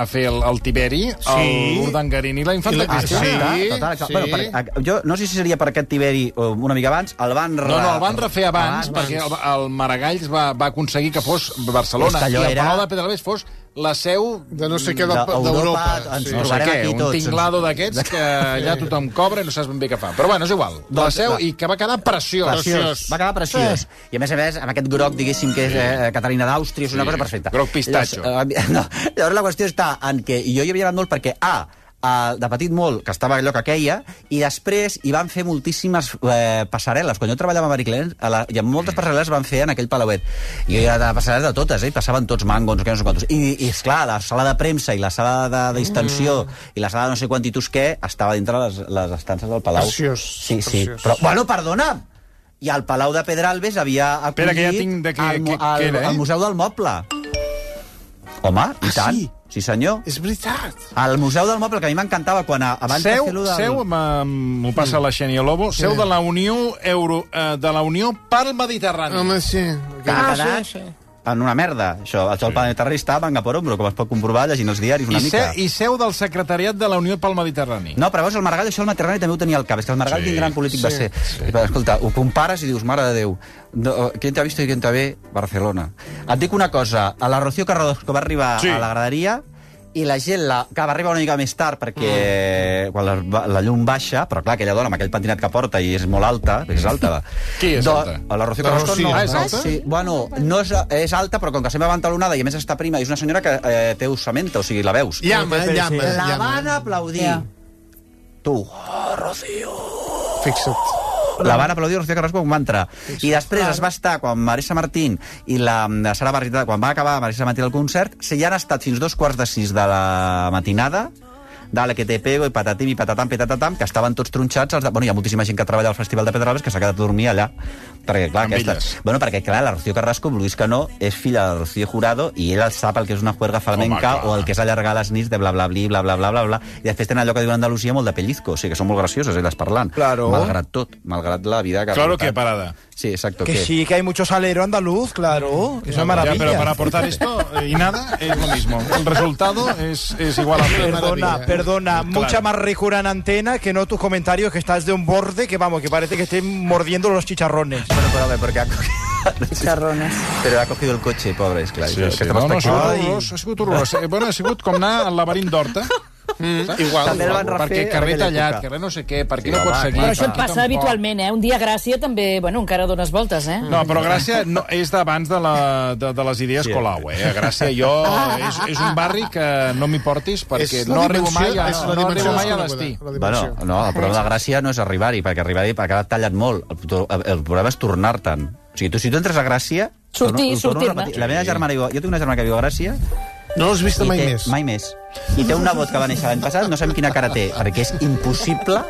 [SPEAKER 1] a fer el, el Tiberi, el
[SPEAKER 5] Sí.
[SPEAKER 1] Urdangarín i la
[SPEAKER 5] I
[SPEAKER 1] Infanta
[SPEAKER 5] la-
[SPEAKER 1] Cristina.
[SPEAKER 5] Sí,
[SPEAKER 2] Ah, Total, total,
[SPEAKER 5] sí.
[SPEAKER 2] Bueno, per, a- jo no sé si seria per aquest Tiberi o una mica abans, el van... re- Ah,
[SPEAKER 1] No, no, el van refer abans,
[SPEAKER 2] Abans.
[SPEAKER 1] perquè el, el Maragalls va, va aconseguir que fos Barcelona
[SPEAKER 2] doncs. És que
[SPEAKER 1] i
[SPEAKER 2] allò
[SPEAKER 1] el
[SPEAKER 2] era-
[SPEAKER 1] Palau de Pedralbes fos la seu
[SPEAKER 5] De no sé què del-
[SPEAKER 2] d'Europa,
[SPEAKER 5] d'Europa.
[SPEAKER 2] ens
[SPEAKER 5] Sí.
[SPEAKER 1] no sé
[SPEAKER 2] trobarem
[SPEAKER 1] què,
[SPEAKER 2] aquí
[SPEAKER 1] un
[SPEAKER 2] tots.
[SPEAKER 1] tinglado d'aquests que allà tothom cobra i no saps ben bé què fa. Però bueno, és igual. La
[SPEAKER 2] Doncs,
[SPEAKER 1] seu
[SPEAKER 2] va.
[SPEAKER 1] i que va quedar preciós.
[SPEAKER 2] Preciós. Va quedar preciós. I a més a més, amb aquest groc, diguéssim, que és eh, Catalina d'Àustria, és una
[SPEAKER 1] Sí.
[SPEAKER 2] cosa perfecta.
[SPEAKER 1] Groc pistatxo.
[SPEAKER 2] Llavors, eh, no, llavors la qüestió està en que jo hi havia anat molt perquè, A, eh, de petit molt, que estava allò que queia, i després hi van fer moltíssimes eh, passarel·les. Quan jo treballava a Mariclens, a la, hi ha moltes passarel·les van fer en aquell palauet. I jo hi anava a passarel·les de totes, eh? i passaven tots mangos, no sé què, no sé quantos. I, i esclar, la sala de premsa i la sala de, de distensió
[SPEAKER 1] Mm.
[SPEAKER 2] i la sala de no sé quantitos què estava dintre les, les estances del palau.
[SPEAKER 5] Preciós,
[SPEAKER 2] Sí, sí.
[SPEAKER 5] preciós.
[SPEAKER 2] Però, bueno, perdona, i al Palau de Pedralbes havia acollit
[SPEAKER 1] Espera, que ja tinc de què-
[SPEAKER 2] el,
[SPEAKER 1] què-
[SPEAKER 2] mu-
[SPEAKER 1] què
[SPEAKER 2] el,
[SPEAKER 1] era, eh?
[SPEAKER 2] el Museu del Moble. Home,
[SPEAKER 1] Ah,
[SPEAKER 2] i tant.
[SPEAKER 5] sí?
[SPEAKER 2] sí? senyor.
[SPEAKER 5] És veritat.
[SPEAKER 2] El Museu del Moble, que a mi m'encantava quan a- abans
[SPEAKER 1] Seu,
[SPEAKER 2] de fer-lo del...
[SPEAKER 1] seu, amb- m'ho passa la Xènia Lobo, seu de la Unió Euro, eh, de la Unió pel Mediterrani.
[SPEAKER 5] Home, sí.
[SPEAKER 2] que ha quedat En una merda, això. Això el planetari està manga per ombro, com es pot comprovar llegint els diaris una
[SPEAKER 1] I, se,
[SPEAKER 2] mica.
[SPEAKER 1] I seu del secretariat de la Unió pel Mediterrani.
[SPEAKER 2] No, però veus, el Maragall això el Mediterrani també ho tenia al cap. És que el Maragall
[SPEAKER 1] Sí,
[SPEAKER 2] sí, quin gran polític sí, va ser. Sí. Però, escolta, ho compares i dius, mare de Déu, no, qui t'ha vist i qui t'ha ve? Barcelona. Et dic una cosa, a la Rocío Carrados, que va arribar
[SPEAKER 1] Sí.
[SPEAKER 2] sí. a la graderia, i la gent la, que va arribar una mica més tard perquè mm. quan la, la llum baixa, però clar, aquella dona amb aquell pentinat que porta i és molt alta, perquè és alta.
[SPEAKER 1] Qui és
[SPEAKER 2] Do-
[SPEAKER 1] alta?
[SPEAKER 2] A la Rocío
[SPEAKER 5] La
[SPEAKER 2] Carrasco
[SPEAKER 5] Rocío.
[SPEAKER 2] no.
[SPEAKER 1] Ah, és alta?
[SPEAKER 2] Sí, bueno, no és, és alta, però com que sempre va entalonada i a més està prima, i és una senyora que eh, té usamenta, o sigui, la veus.
[SPEAKER 5] Llama,
[SPEAKER 3] Sí, sí,
[SPEAKER 5] llama,
[SPEAKER 3] sí.
[SPEAKER 2] La
[SPEAKER 5] llama.
[SPEAKER 2] van aplaudir.
[SPEAKER 4] Ja.
[SPEAKER 2] eh? Tu.
[SPEAKER 1] Oh,
[SPEAKER 5] Fixa't.
[SPEAKER 2] La van aplaudir Rocío Carrasco quan va entrar. I després es va estar, quan Marisa Martín i la la Sara Barrita, quan va acabar Marisa Martín el concert, se ja han estat fins dos quarts de sis de la matinada, dale que te pego, i patatim, i patatam, patatam, que estaven tots tronxats. Els de... bueno, hi ha moltíssima gent que treballa al Festival de Pedralbes que s'ha quedat a dormir allà. Perquè, clar,
[SPEAKER 1] Amb
[SPEAKER 2] aquesta...
[SPEAKER 1] elles.
[SPEAKER 2] Bueno, perquè, clar, la Rocío Carrasco, vulguis que no, és filla de Rocío Jurado i ella sap el que és una juerga flamenca
[SPEAKER 1] Home, clar.
[SPEAKER 2] o el que és allargar les nits de bla, bla, bli, bla, bla, bla, bla, bla. I després tenen allò que diu Andalusia molt de pellizco, o sigui que són molt gracioses elles parlant.
[SPEAKER 3] Claro.
[SPEAKER 2] Malgrat tot, malgrat la vida que... ha
[SPEAKER 1] Claro
[SPEAKER 2] portat.
[SPEAKER 1] que parada.
[SPEAKER 2] Sí, exacto.
[SPEAKER 3] Que sí, que hay mucho salero andaluz, claro. Es una
[SPEAKER 1] Ya,
[SPEAKER 3] maravilla.
[SPEAKER 1] pero para aportar esto eh, y nada es lo mismo. El resultado es, es igual a cero.
[SPEAKER 3] Perdona,
[SPEAKER 5] Maravilla.
[SPEAKER 3] perdona.
[SPEAKER 1] Claro.
[SPEAKER 3] Mucha más ricura en antena que no tus comentarios, que estás de un borde que, vamos, que parece que estés mordiendo los chicharrones.
[SPEAKER 2] Bueno, pues, a ver, porque ha cogido...
[SPEAKER 4] Charrones.
[SPEAKER 2] Però ha cogido el cotxe, pobre, és clar.
[SPEAKER 1] Sí,
[SPEAKER 2] això,
[SPEAKER 1] sí.
[SPEAKER 2] que
[SPEAKER 1] No, no, ha sigut
[SPEAKER 3] Ai.
[SPEAKER 1] horrorós, ha sigut horrorós. Eh, Bueno, ha sigut com anar al laberint d'Horta. Mm, igual,
[SPEAKER 2] També el van
[SPEAKER 1] perquè
[SPEAKER 2] refer
[SPEAKER 1] carrer
[SPEAKER 2] en aquella
[SPEAKER 1] tallat,
[SPEAKER 2] època.
[SPEAKER 1] carrer no sé què, per
[SPEAKER 2] Sí,
[SPEAKER 1] aquí no
[SPEAKER 2] home,
[SPEAKER 1] pots seguir.
[SPEAKER 4] Però
[SPEAKER 1] per aquí
[SPEAKER 2] Ah,
[SPEAKER 4] això et passa
[SPEAKER 1] tampoc.
[SPEAKER 4] habitualment, eh? Un dia Gràcia també, bueno, encara dones voltes,
[SPEAKER 2] Mm.
[SPEAKER 4] eh?
[SPEAKER 1] No, però Gràcia no, és d'abans de, la, de, de les idees
[SPEAKER 2] Sí.
[SPEAKER 1] Colau, eh? Gràcia, jo... És, és un barri que no m'hi portis perquè
[SPEAKER 5] És la
[SPEAKER 1] no arribo mai
[SPEAKER 5] dimensió-
[SPEAKER 1] a,
[SPEAKER 5] és la
[SPEAKER 1] no
[SPEAKER 5] dimensió
[SPEAKER 1] arribo mai a
[SPEAKER 5] desconeguda,
[SPEAKER 1] destí.
[SPEAKER 5] la dimensió.
[SPEAKER 2] Bueno, no, el problema de Gràcia no és arribar-hi, perquè arribar-hi ha quedat tallat molt. El, to- el problema és tornar-te'n. O sigui, tu, si tu entres a Gràcia... torno-
[SPEAKER 4] Sortir,
[SPEAKER 2] ho torno a
[SPEAKER 4] sortir-ne.
[SPEAKER 2] repetir. La meva germana, viu- jo tinc una germana que viu a Gràcia,
[SPEAKER 5] No l'has vist
[SPEAKER 2] i
[SPEAKER 5] mai
[SPEAKER 2] té,
[SPEAKER 5] més.
[SPEAKER 2] Mai més. I té un nebot que va néixer l'any passat, no sabem quina cara té, perquè és impossible.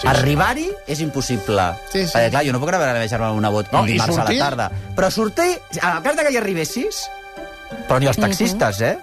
[SPEAKER 2] Sí, Arribar-hi és impossible.
[SPEAKER 5] Sí, sí.
[SPEAKER 2] Perquè, clar, jo no puc gravar a la meva germana un nebot
[SPEAKER 1] No,
[SPEAKER 2] un
[SPEAKER 1] i
[SPEAKER 2] dimarts a
[SPEAKER 1] sortir?
[SPEAKER 2] la tarda. Però sortir, a la carta que hi arribessis, però ni els taxistes, eh?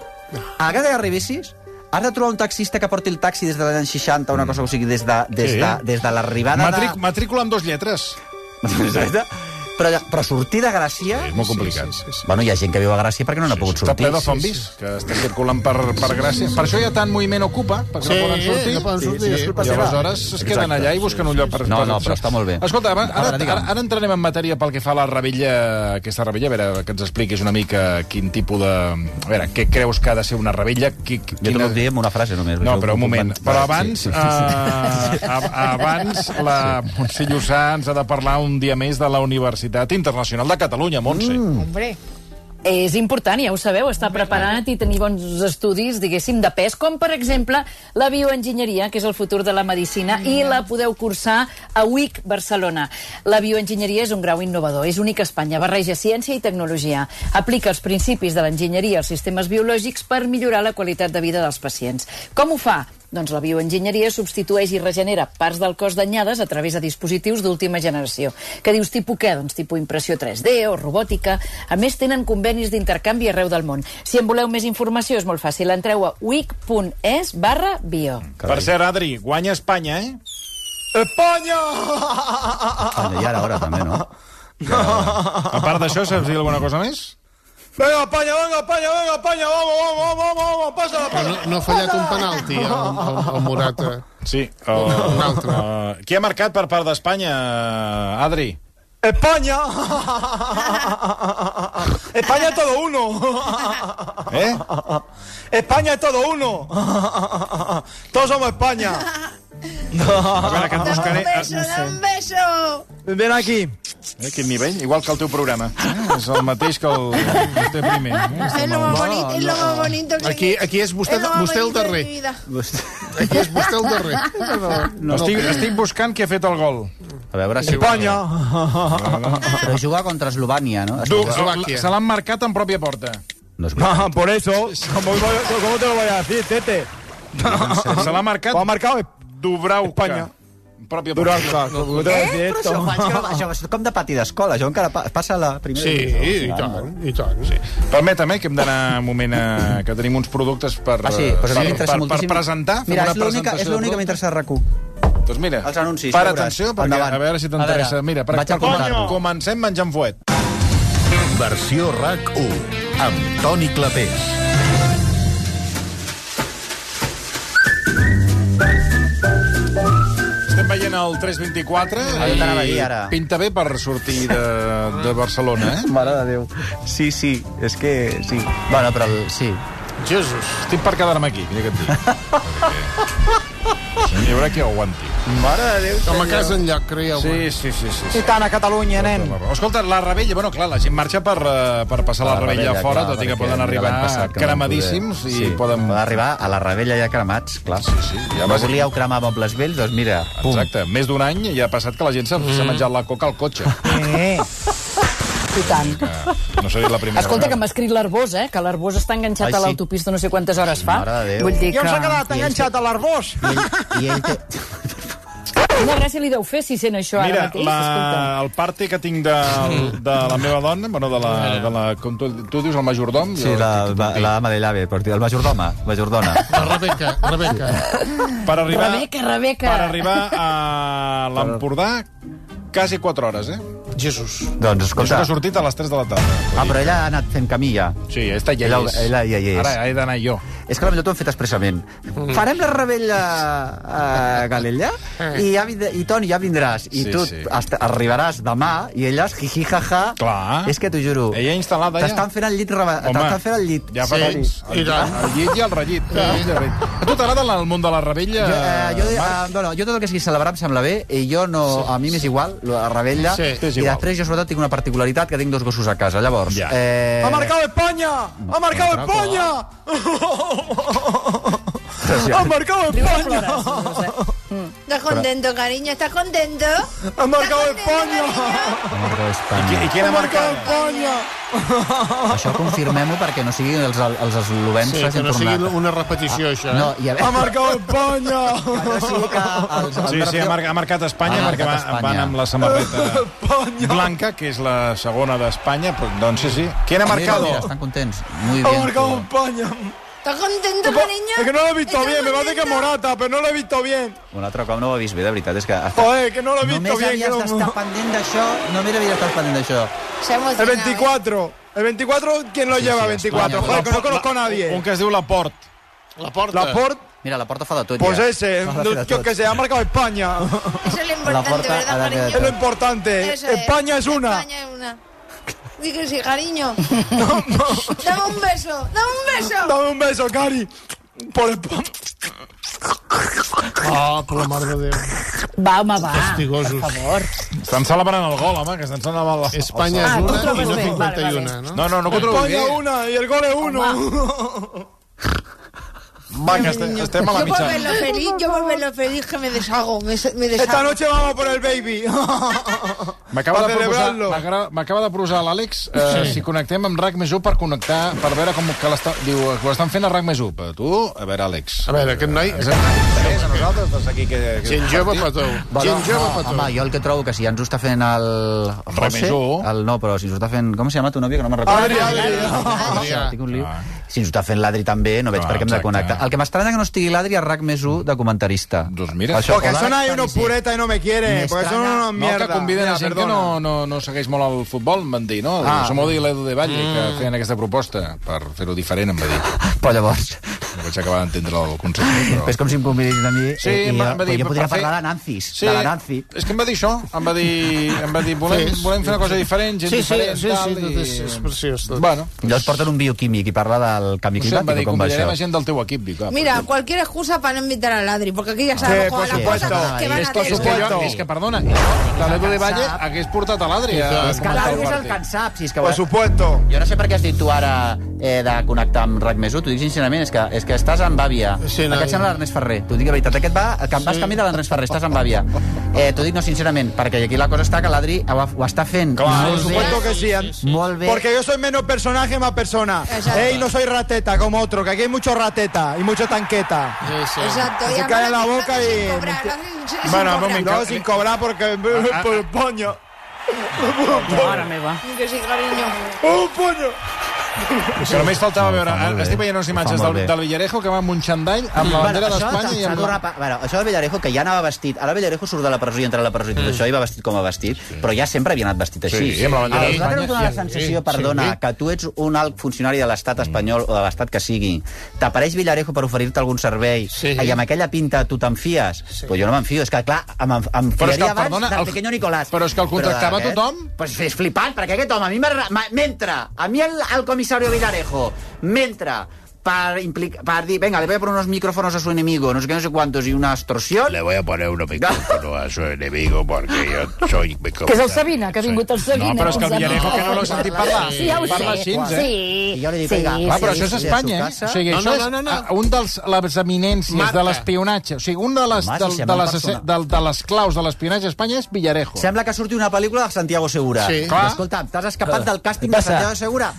[SPEAKER 2] A la carta que hi arribessis, has de trobar un taxista que porti el taxi des de l'any 60, una cosa, o sigui, des de, des
[SPEAKER 1] Mm. Sí.
[SPEAKER 2] de, des de l'arribada
[SPEAKER 1] Matric,
[SPEAKER 2] de...
[SPEAKER 1] matrícula amb dues lletres.
[SPEAKER 2] Exacte. Però, però sortir de Gràcia...
[SPEAKER 1] És molt complicat.
[SPEAKER 5] Sí, sí, sí, sí.
[SPEAKER 2] Bueno, hi ha gent que viu a Gràcia perquè no n'ha pogut
[SPEAKER 1] Està
[SPEAKER 2] sortir.
[SPEAKER 1] ple de zombis, que estan circulant per, per Gràcia. Per això hi ha tant moviment ocupa, perquè
[SPEAKER 5] Sí,
[SPEAKER 1] no poden sortir.
[SPEAKER 5] no poden sortir.
[SPEAKER 2] no és culpa
[SPEAKER 1] I
[SPEAKER 2] seva.
[SPEAKER 1] aleshores es
[SPEAKER 2] Exacte.
[SPEAKER 1] queden allà i busquen un lloc per...
[SPEAKER 2] No,
[SPEAKER 1] per-
[SPEAKER 2] no, però està molt bé.
[SPEAKER 1] Escolta, ara,
[SPEAKER 2] Ara,
[SPEAKER 1] ara,
[SPEAKER 2] digue'm.
[SPEAKER 1] ara, ara entrarem en matèria pel que fa a la rebella, aquesta rebella, a veure, que ens expliquis una mica quin tipus de... A veure, què creus que ha de ser una rebella? Qui, qui-
[SPEAKER 2] Jo t'ho puc dir amb una frase només.
[SPEAKER 1] No,
[SPEAKER 2] Jo
[SPEAKER 1] però un
[SPEAKER 2] puc
[SPEAKER 1] moment.
[SPEAKER 2] comentar.
[SPEAKER 1] Però abans, eh, sí, abans la Montse Llussà ens ha de parlar un dia més de la Universitat Internacional de Catalunya, Montse.
[SPEAKER 2] Mm,
[SPEAKER 6] Hombre.
[SPEAKER 4] És important, ja ho sabeu, estar preparat i tenir bons estudis, diguéssim, de pes, com per exemple la bioenginyeria, que és el futur de la medicina, i la podeu cursar a UIC Barcelona. La bioenginyeria és un grau innovador, és únic a Espanya, barreja ciència i tecnologia. Aplica els principis de l'enginyeria als sistemes biològics per millorar la qualitat de vida dels pacients. Com ho fa? Doncs la bioenginyeria substitueix i regenera parts del cos danyades a través de dispositius d'última generació. Que dius tipus què? Doncs tipus impressió 3D o robòtica. A més, tenen convenis d'intercanvi arreu del món. Si en voleu més informació, és molt fàcil. Entreu a wic.es barra bio.
[SPEAKER 1] Per cert, Adri, guanya Espanya, eh? Espanya!
[SPEAKER 2] Espanya, I ara, ara, també, no?
[SPEAKER 1] A part d'això, saps dir alguna cosa més?
[SPEAKER 3] Venga, España, venga, España, venga, España, vamos, vamos, vamos, vamos, pásala,
[SPEAKER 5] Però no, no ha fallat un penalti, el, el, el Morata.
[SPEAKER 1] Sí. O,
[SPEAKER 5] Un altre.
[SPEAKER 1] o- qui ha marcat per part d'Espanya, Adri?
[SPEAKER 3] España. España es todo uno.
[SPEAKER 1] Eh?
[SPEAKER 3] España es todo uno. Todos somos España.
[SPEAKER 1] A veure, que et
[SPEAKER 6] Dame
[SPEAKER 1] buscaré...
[SPEAKER 6] un beso, dame un beso.
[SPEAKER 3] Ven aquí.
[SPEAKER 1] Eh, quin nivell? Igual que el teu programa. Eh? És el mateix que el, el teu primer. Eh?
[SPEAKER 6] Es lo
[SPEAKER 3] Ah,
[SPEAKER 6] más bonito, es lo más bonito que
[SPEAKER 5] Aquí, aquí és vostè,
[SPEAKER 6] es lo más
[SPEAKER 5] vostè el
[SPEAKER 6] bonito de
[SPEAKER 5] darrer.
[SPEAKER 6] mi vida.
[SPEAKER 5] Aquí és vostè el darrer.
[SPEAKER 1] No, estic, estic buscant qui ha fet el gol.
[SPEAKER 2] A veure si... Però jugar contra Eslovània, no?
[SPEAKER 1] Du,
[SPEAKER 5] Eslovàquia.
[SPEAKER 1] se l'han marcat en pròpia porta.
[SPEAKER 2] No és veritat.
[SPEAKER 3] Por eso, ¿cómo, cómo te lo voy a decir, Tete?
[SPEAKER 1] Se l'ha marcat
[SPEAKER 3] ¿Lo ha marcado?
[SPEAKER 1] Dubrauca.
[SPEAKER 3] Espanya.
[SPEAKER 1] En Pròpia porta.
[SPEAKER 3] Duralca. ¿Cómo te voy a decir
[SPEAKER 2] Però això,
[SPEAKER 3] esto?
[SPEAKER 2] faig que no, això és com de pati d'escola, jo encara pa, passa a la primera...
[SPEAKER 5] Sí,
[SPEAKER 2] divisió.
[SPEAKER 5] i tant, i tant. Sí.
[SPEAKER 1] Permetem, eh, que hem d'anar un moment a... que tenim uns productes per,
[SPEAKER 2] Ah, sí,
[SPEAKER 1] per,
[SPEAKER 2] però a mi
[SPEAKER 1] per,
[SPEAKER 2] m'interessa
[SPEAKER 1] per
[SPEAKER 2] moltíssim.
[SPEAKER 1] presentar. Fem
[SPEAKER 2] Mira,
[SPEAKER 1] una
[SPEAKER 2] és
[SPEAKER 1] presentació
[SPEAKER 2] l'única és
[SPEAKER 1] de productes.
[SPEAKER 2] l'única que m'interessa a RAC1.
[SPEAKER 1] Doncs mira,
[SPEAKER 2] Els anuncis,
[SPEAKER 1] para
[SPEAKER 2] veuràs.
[SPEAKER 1] atenció, perquè
[SPEAKER 2] Endavant.
[SPEAKER 1] a veure si
[SPEAKER 2] A
[SPEAKER 1] t'interessa.
[SPEAKER 2] veure,
[SPEAKER 1] Mira, per,
[SPEAKER 2] vaig a contar-lo.
[SPEAKER 1] comencem menjant fuet.
[SPEAKER 7] Versió RAC1 amb Toni Clapés.
[SPEAKER 1] Estem veient el 324
[SPEAKER 2] Ah, jo t'anava a dir ara.
[SPEAKER 1] pinta bé per sortir de, de Barcelona, eh?
[SPEAKER 2] Mare de Déu. Sí, sí, és que sí. Bueno, però el, sí.
[SPEAKER 1] Jesus. Estic per quedar-me aquí, mira què et dic. Perquè... Hi haurà qui ho aguanti.
[SPEAKER 2] Mare de Déu.
[SPEAKER 5] Com a casa enlloc, creieu-me.
[SPEAKER 1] Sí, sí, sí, sí. sí.
[SPEAKER 3] Gitana Catalunya, nen.
[SPEAKER 1] Escolta, la rebella, bueno, clar, la gent marxa per, eh, per passar la,
[SPEAKER 2] La
[SPEAKER 1] rebella,
[SPEAKER 2] Rebella,
[SPEAKER 1] fora,
[SPEAKER 2] clar,
[SPEAKER 1] tot i que
[SPEAKER 2] perquè
[SPEAKER 1] poden
[SPEAKER 2] l'any
[SPEAKER 1] arribar
[SPEAKER 2] passat que no
[SPEAKER 1] cremadíssims
[SPEAKER 2] van
[SPEAKER 1] i
[SPEAKER 2] poder. Sí,
[SPEAKER 1] poden...
[SPEAKER 2] Poden arribar a la rebella ja cremats, clar.
[SPEAKER 1] Sí, sí, ja
[SPEAKER 2] Ja
[SPEAKER 1] va
[SPEAKER 2] no
[SPEAKER 1] ser-
[SPEAKER 2] volíeu cremar mobles vells, doncs mira, pum.
[SPEAKER 1] Exacte, més d'un any i ha passat que la gent s'ha mm. Ah. menjat la coca al cotxe.
[SPEAKER 3] Eh.
[SPEAKER 4] I tant.
[SPEAKER 2] Ah,
[SPEAKER 1] No seria la primera
[SPEAKER 4] Escolta, que
[SPEAKER 1] vegada.
[SPEAKER 4] m'ha escrit l'Arbós, eh? Que l'Arbós està enganxat
[SPEAKER 2] Ai,
[SPEAKER 4] a
[SPEAKER 2] sí.
[SPEAKER 4] l'autopista no sé quantes hores fa.
[SPEAKER 2] Mare de Déu.
[SPEAKER 4] Vull dir
[SPEAKER 3] I on s'ha
[SPEAKER 4] que...
[SPEAKER 3] quedat enganxat a l'arbós?
[SPEAKER 2] I ell, i ell té...
[SPEAKER 4] Quina gràcia li deu fer si sent això
[SPEAKER 1] Mira,
[SPEAKER 4] ara mateix?
[SPEAKER 1] la,
[SPEAKER 4] Escolta.
[SPEAKER 1] el party que tinc de, de la meva dona, bueno, de la, de la, com tu, tu dius, el majordom...
[SPEAKER 2] Sí,
[SPEAKER 1] jo-
[SPEAKER 2] la, la, la ama de llave, per dir, el majordoma, majordona.
[SPEAKER 5] La Rebeca, Rebeca.
[SPEAKER 1] Per arribar,
[SPEAKER 4] Rebeca, Rebeca.
[SPEAKER 1] Per arribar a l'Empordà, quasi 4 hores, eh?
[SPEAKER 5] Jesús.
[SPEAKER 2] doncs
[SPEAKER 1] I Això
[SPEAKER 2] escolta...
[SPEAKER 1] ha sortit a les 3 de la tarda.
[SPEAKER 2] Ah, però ella ha anat fent camí ja.
[SPEAKER 1] Sí, esta ja
[SPEAKER 2] Ella-
[SPEAKER 1] hi és.
[SPEAKER 2] ella ja hi és.
[SPEAKER 1] Ara he d'anar jo.
[SPEAKER 2] És que potser t'ho han fet expressament.
[SPEAKER 1] Mm.
[SPEAKER 2] Farem la rebella a Galella i, ja vindrà, i Toni, ja vindràs.
[SPEAKER 1] Eh.
[SPEAKER 2] I
[SPEAKER 1] Sí,
[SPEAKER 2] tu
[SPEAKER 1] sí.
[SPEAKER 2] Hasta, arribaràs demà i elles jiji jaja.
[SPEAKER 1] Clar.
[SPEAKER 2] És que t'ho juro.
[SPEAKER 1] Ella instal·lada ja.
[SPEAKER 2] T'estan fent el llit. Reba... T'estan fent el llit.
[SPEAKER 1] Ja fa
[SPEAKER 5] Sí,
[SPEAKER 1] temps.
[SPEAKER 5] i
[SPEAKER 1] El,
[SPEAKER 5] tant.
[SPEAKER 1] el llit i el rellit. El llit i el rellit. A tu t'agrada la- el món de la rebella?
[SPEAKER 2] Jo, eh, jo, eh,
[SPEAKER 1] Marc?
[SPEAKER 2] no, no, jo tot el que sigui celebrar em sembla bé i jo no, a mi m'és igual, la rebella
[SPEAKER 5] Sí,
[SPEAKER 1] t'és
[SPEAKER 2] i
[SPEAKER 1] igual.
[SPEAKER 2] després jo sobretot tinc una particularitat que tinc dos gossos a casa, llavors
[SPEAKER 1] Ja.
[SPEAKER 2] eh,
[SPEAKER 3] Ha marcado España. Ha marcado
[SPEAKER 2] Entra,
[SPEAKER 3] España. Ha
[SPEAKER 4] Riu
[SPEAKER 3] marcado
[SPEAKER 4] de
[SPEAKER 3] España.
[SPEAKER 4] plores, doncs, eh?
[SPEAKER 6] ¿Estás contento, cariño? ¿Estás contento?
[SPEAKER 3] Ha marcado España.
[SPEAKER 2] Mare d'Espanya.
[SPEAKER 1] I, I quina
[SPEAKER 3] Ha marcado
[SPEAKER 1] marca?
[SPEAKER 3] España.
[SPEAKER 2] això confirmem-ho perquè no siguin els, els eslovens
[SPEAKER 5] Sí, que
[SPEAKER 2] s'hagin
[SPEAKER 5] no sigui
[SPEAKER 2] tornat
[SPEAKER 5] una repetició, això. eh?
[SPEAKER 2] no, i a
[SPEAKER 3] Ha
[SPEAKER 2] veure
[SPEAKER 3] marcado España.
[SPEAKER 2] que no sigui que els, els
[SPEAKER 1] Sí, sí, ha, mar ha marcat Espanya
[SPEAKER 2] Ha marcat
[SPEAKER 1] perquè va,
[SPEAKER 2] Espanya.
[SPEAKER 1] van amb la samarreta
[SPEAKER 3] España.
[SPEAKER 1] blanca, que és la segona d'Espanya. però, Doncs sí, sí. Quina ha
[SPEAKER 2] Mira,
[SPEAKER 1] marcat?
[SPEAKER 2] mira, estan contents. Muy
[SPEAKER 3] Ha
[SPEAKER 2] bien.
[SPEAKER 3] marcado España.
[SPEAKER 6] ¿Estás contento, cariño?
[SPEAKER 3] Es que no lo he visto
[SPEAKER 6] ¿Estás
[SPEAKER 3] bien, me parece que
[SPEAKER 6] contento?
[SPEAKER 3] Morata, però no l'he visto bien.
[SPEAKER 2] Un altre cop no ho ha vist bé, de veritat, és que... Hasta...
[SPEAKER 3] Joder, que no l'he visto
[SPEAKER 2] Només
[SPEAKER 3] bien. Que
[SPEAKER 2] havies d'estar
[SPEAKER 3] no...
[SPEAKER 2] pendent d'això, només havies d'estar pendent d'això.
[SPEAKER 6] Se ha
[SPEAKER 3] El
[SPEAKER 6] emocionado, ¿eh?
[SPEAKER 3] 24. El 24, ¿quién lo lleva? 24. Joder, que no conozco a
[SPEAKER 1] Un
[SPEAKER 3] nadie.
[SPEAKER 1] que es diu Laport.
[SPEAKER 5] La porta.
[SPEAKER 3] Laporte,
[SPEAKER 2] Mira, la porta fa de tot,
[SPEAKER 3] pues
[SPEAKER 2] ja.
[SPEAKER 3] ese,
[SPEAKER 2] Fa de
[SPEAKER 3] no,
[SPEAKER 2] tot.
[SPEAKER 3] yo que sé, ha marcado España.
[SPEAKER 6] Eso es lo importante,
[SPEAKER 2] puerta
[SPEAKER 6] ¿verdad,
[SPEAKER 2] a la que-
[SPEAKER 6] cariño?
[SPEAKER 3] Es lo importante.
[SPEAKER 6] Eso
[SPEAKER 3] em- eh, España es una.
[SPEAKER 6] España es una. Di que sí, cariño. Dame un beso, dame un beso.
[SPEAKER 3] Dame un beso, Cari. Por España.
[SPEAKER 5] Ah, per la mare de Déu.
[SPEAKER 4] Va, home, va.
[SPEAKER 5] Castigosos.
[SPEAKER 4] Per favor.
[SPEAKER 1] Estan celebrant el gol, home, que estan celebrant el gol.
[SPEAKER 5] Espanya és
[SPEAKER 4] Ah, tu
[SPEAKER 5] una
[SPEAKER 4] trobes
[SPEAKER 5] i no
[SPEAKER 4] bé.
[SPEAKER 5] 51,
[SPEAKER 4] Vale, vale.
[SPEAKER 5] no?
[SPEAKER 1] No, no, no que ho trobo
[SPEAKER 3] España
[SPEAKER 1] bé.
[SPEAKER 3] una y el gol es uno.
[SPEAKER 1] Va, que este, estem a la
[SPEAKER 6] Yo por
[SPEAKER 1] mitjana.
[SPEAKER 6] verlo feliz, yo por verlo feliz que me deshago, me, se- me deshago.
[SPEAKER 3] Esta noche vamos por el baby.
[SPEAKER 1] M'acaba
[SPEAKER 3] Pa
[SPEAKER 1] de proposar,
[SPEAKER 3] celebrarlo.
[SPEAKER 1] m'agra- m'acaba de proposar l'Àlex eh, sí. si connectem amb RAC més 1 per connectar, per veure com que l'està... Diu, eh, que ho estan fent a RAC més 1. Però tu, a veure, Àlex.
[SPEAKER 5] A veure, aquest noi...
[SPEAKER 1] Ens hem de a nosaltres, des d'aquí que... que
[SPEAKER 5] Gent jove, petó. Gent jove,
[SPEAKER 2] no,
[SPEAKER 5] petó.
[SPEAKER 2] Ah, home, jo el que trobo que si ja ens ho està fent el José...
[SPEAKER 1] Remesó.
[SPEAKER 2] El, no, però si ens ho està fent... Com se llama tu nòvia, que no me'n recordo?
[SPEAKER 5] Adrià.
[SPEAKER 2] Tinc un lío.
[SPEAKER 1] Ah.
[SPEAKER 2] Si ens ho està fent l'Adri també, no veig
[SPEAKER 1] Ah,
[SPEAKER 2] per què hem de
[SPEAKER 1] exacte.
[SPEAKER 2] connectar. El que m'estranya que no estigui l'Adri a RAC més 1 de comentarista.
[SPEAKER 1] Doncs mira.
[SPEAKER 3] Porque
[SPEAKER 2] o
[SPEAKER 3] son ahí
[SPEAKER 2] l'Àlex
[SPEAKER 3] unos
[SPEAKER 2] Parisi.
[SPEAKER 3] puretas y no me quieren.
[SPEAKER 2] Me
[SPEAKER 3] Porque son
[SPEAKER 2] extraña.
[SPEAKER 3] unos
[SPEAKER 1] No,
[SPEAKER 3] mierda.
[SPEAKER 1] que conviden
[SPEAKER 3] Mira,
[SPEAKER 1] a gent que
[SPEAKER 3] perdona.
[SPEAKER 1] no, no, no segueix molt el futbol, em van dir, no? Ah, Som Odi i l'Edu de Valle, que feien aquesta proposta per fer-ho diferent, em va dir.
[SPEAKER 2] Però llavors...
[SPEAKER 1] No vaig acabar d'entendre el concepte, però...
[SPEAKER 2] És com si em convidessin a mi eh,
[SPEAKER 1] Sí,
[SPEAKER 2] i, i
[SPEAKER 1] em va-
[SPEAKER 2] jo,
[SPEAKER 1] em va dir,
[SPEAKER 2] jo podria
[SPEAKER 1] per fer-
[SPEAKER 2] parlar de Nancis, de la Nancy.
[SPEAKER 1] És que em va dir això, em va dir, em va dir volem,
[SPEAKER 5] Sí.
[SPEAKER 1] volem fer una cosa diferent, gent
[SPEAKER 5] Sí, sí,
[SPEAKER 1] diferent,
[SPEAKER 5] sí,
[SPEAKER 1] tal,
[SPEAKER 5] sí, tot és- és preciós, tot.
[SPEAKER 1] Bueno,
[SPEAKER 2] Llavors porten un bioquímic i parla del canvi
[SPEAKER 1] no sé, em va
[SPEAKER 2] climàtic,
[SPEAKER 1] dir,
[SPEAKER 2] o com va
[SPEAKER 1] convidarem
[SPEAKER 2] això?
[SPEAKER 1] a gent del teu equip, dic, ah,
[SPEAKER 6] Mira, cualquier excusa para no invitar a Ladri, porque aquí ya
[SPEAKER 3] Sí,
[SPEAKER 6] sabemos
[SPEAKER 3] por
[SPEAKER 6] cuáles las
[SPEAKER 3] supuesto.
[SPEAKER 6] cosas que van
[SPEAKER 1] és
[SPEAKER 6] a
[SPEAKER 1] que, és que,
[SPEAKER 6] hacer.
[SPEAKER 1] jo, és que perdona, que l'Edu de Valle hagués portat a l'Adri. a
[SPEAKER 2] És que
[SPEAKER 1] comentar el
[SPEAKER 2] l'Adri és el
[SPEAKER 1] partit.
[SPEAKER 2] que en sap, si és que...
[SPEAKER 3] Por supuesto.
[SPEAKER 2] Jo no sé per què has dit tu ara eh, de connectar amb RAC més 1, t'ho dic sincerament, és que, és que estàs amb Bàvia.
[SPEAKER 5] Sí, no,
[SPEAKER 2] aquest sembla l'Ernest Ferrer, t'ho dic la veritat. Aquest va, que vas camí de l'Ernest Ferrer, estàs amb Bàvia. Eh, t'ho dic no sincerament, perquè aquí la cosa està que l'Adri ho, ha- ho està fent
[SPEAKER 3] Claro, por
[SPEAKER 2] molt bé.
[SPEAKER 3] supuesto que sí. Ant-
[SPEAKER 2] Molt bé.
[SPEAKER 3] Porque yo soy menos personaje, más persona.
[SPEAKER 6] Exacto.
[SPEAKER 3] Ey, no soy rateta como otro, que aquí hay mucho rateta y mucho tanqueta.
[SPEAKER 5] Sí, sí.
[SPEAKER 6] Exacto.
[SPEAKER 3] Se
[SPEAKER 6] y
[SPEAKER 3] calla
[SPEAKER 6] además
[SPEAKER 3] la
[SPEAKER 6] lo hacen
[SPEAKER 3] boca
[SPEAKER 6] sin
[SPEAKER 3] y-
[SPEAKER 6] cobrar, lo hacen sin
[SPEAKER 1] Bueno,
[SPEAKER 6] cobrar.
[SPEAKER 1] vamos,
[SPEAKER 3] No, sin cobrar porque... Por España.
[SPEAKER 4] Mare meva.
[SPEAKER 6] Que sí, cariño.
[SPEAKER 3] ¡Un puño!
[SPEAKER 1] Que només faltava
[SPEAKER 2] Ho fa
[SPEAKER 1] veure... eh,
[SPEAKER 2] molt bé.
[SPEAKER 1] Estic veient unes
[SPEAKER 2] Ho fa
[SPEAKER 1] imatges
[SPEAKER 2] molt
[SPEAKER 1] del,
[SPEAKER 2] bé.
[SPEAKER 1] del Villarejo que va amb un xandall, amb la bandera
[SPEAKER 2] això
[SPEAKER 1] d'Espanya
[SPEAKER 2] s'ha-
[SPEAKER 1] i
[SPEAKER 2] s'ha
[SPEAKER 1] amb...
[SPEAKER 2] tornat a pa- bueno, això del Villarejo, que ja anava vestit... Ara Villarejo surt de la presó i entra a la presó i tot això, i va vestit com a vestit, però ja sempre havia anat vestit així.
[SPEAKER 1] Mm. Sí, amb la bandera
[SPEAKER 2] Ah,
[SPEAKER 1] d'Espanya
[SPEAKER 2] nosaltres ens dona
[SPEAKER 1] i
[SPEAKER 2] la
[SPEAKER 1] amb-
[SPEAKER 2] sensació,
[SPEAKER 1] sí,
[SPEAKER 2] perdona,
[SPEAKER 1] sí. Mm.
[SPEAKER 2] que tu ets un alt funcionari de l'estat espanyol o de l'estat que sigui. T'apareix Villarejo per oferir-te algun servei
[SPEAKER 5] Sí.
[SPEAKER 2] i amb aquella pinta tu te'n fies. Però jo no me'n fio, és que clar, em, em, em
[SPEAKER 1] Però és que,
[SPEAKER 2] fiaria abans
[SPEAKER 1] perdona,
[SPEAKER 2] del
[SPEAKER 1] el-
[SPEAKER 2] pequeño Nicolás.
[SPEAKER 1] però és que el contractava
[SPEAKER 2] d'aquest-
[SPEAKER 1] tothom.
[SPEAKER 2] Pues és flipant, perquè aquest home a mi m'arra- m'a- m'entra, a mi el, el comissario Villarejo, m'entra per, implica, per dir, venga, le voy a poner unos micrófonos a su enemigo, no sé qué, no sé cuántos, y una extorsión.
[SPEAKER 8] Le voy a poner unos micrófonos a su enemigo porque yo soy...
[SPEAKER 4] Que és el Sabina, que ha vingut el Sabina.
[SPEAKER 1] No, però és que el
[SPEAKER 4] ens ha-
[SPEAKER 1] Villarejo que no l'ha sentit parlar.
[SPEAKER 4] Sí, ja ho
[SPEAKER 1] Parla
[SPEAKER 4] sé.
[SPEAKER 1] així, eh?
[SPEAKER 4] Sí,
[SPEAKER 2] I jo li dic,
[SPEAKER 4] sí,
[SPEAKER 2] "Vinga,
[SPEAKER 1] Ah, però
[SPEAKER 2] Sí,
[SPEAKER 1] això és
[SPEAKER 2] sí, sí,
[SPEAKER 1] Espanya,
[SPEAKER 2] a
[SPEAKER 1] eh?
[SPEAKER 2] su
[SPEAKER 1] O
[SPEAKER 2] casa.
[SPEAKER 1] sigui,
[SPEAKER 5] No,
[SPEAKER 1] això
[SPEAKER 5] no,
[SPEAKER 1] és
[SPEAKER 5] no, no.
[SPEAKER 1] ah, un dels, les eminències
[SPEAKER 5] Marca.
[SPEAKER 1] de l'espionatge. O sigui, un de les,
[SPEAKER 2] Home, si
[SPEAKER 1] del,
[SPEAKER 2] sembla
[SPEAKER 1] de, les,
[SPEAKER 2] persona.
[SPEAKER 1] de, de les claus de l'espionatge a Espanya és Villarejo.
[SPEAKER 2] Sembla que surti una pel·lícula de Santiago Segura.
[SPEAKER 5] Sí.
[SPEAKER 2] I,
[SPEAKER 1] Clar.
[SPEAKER 2] Escolta, t'has escapat del càsting de Santiago Segura?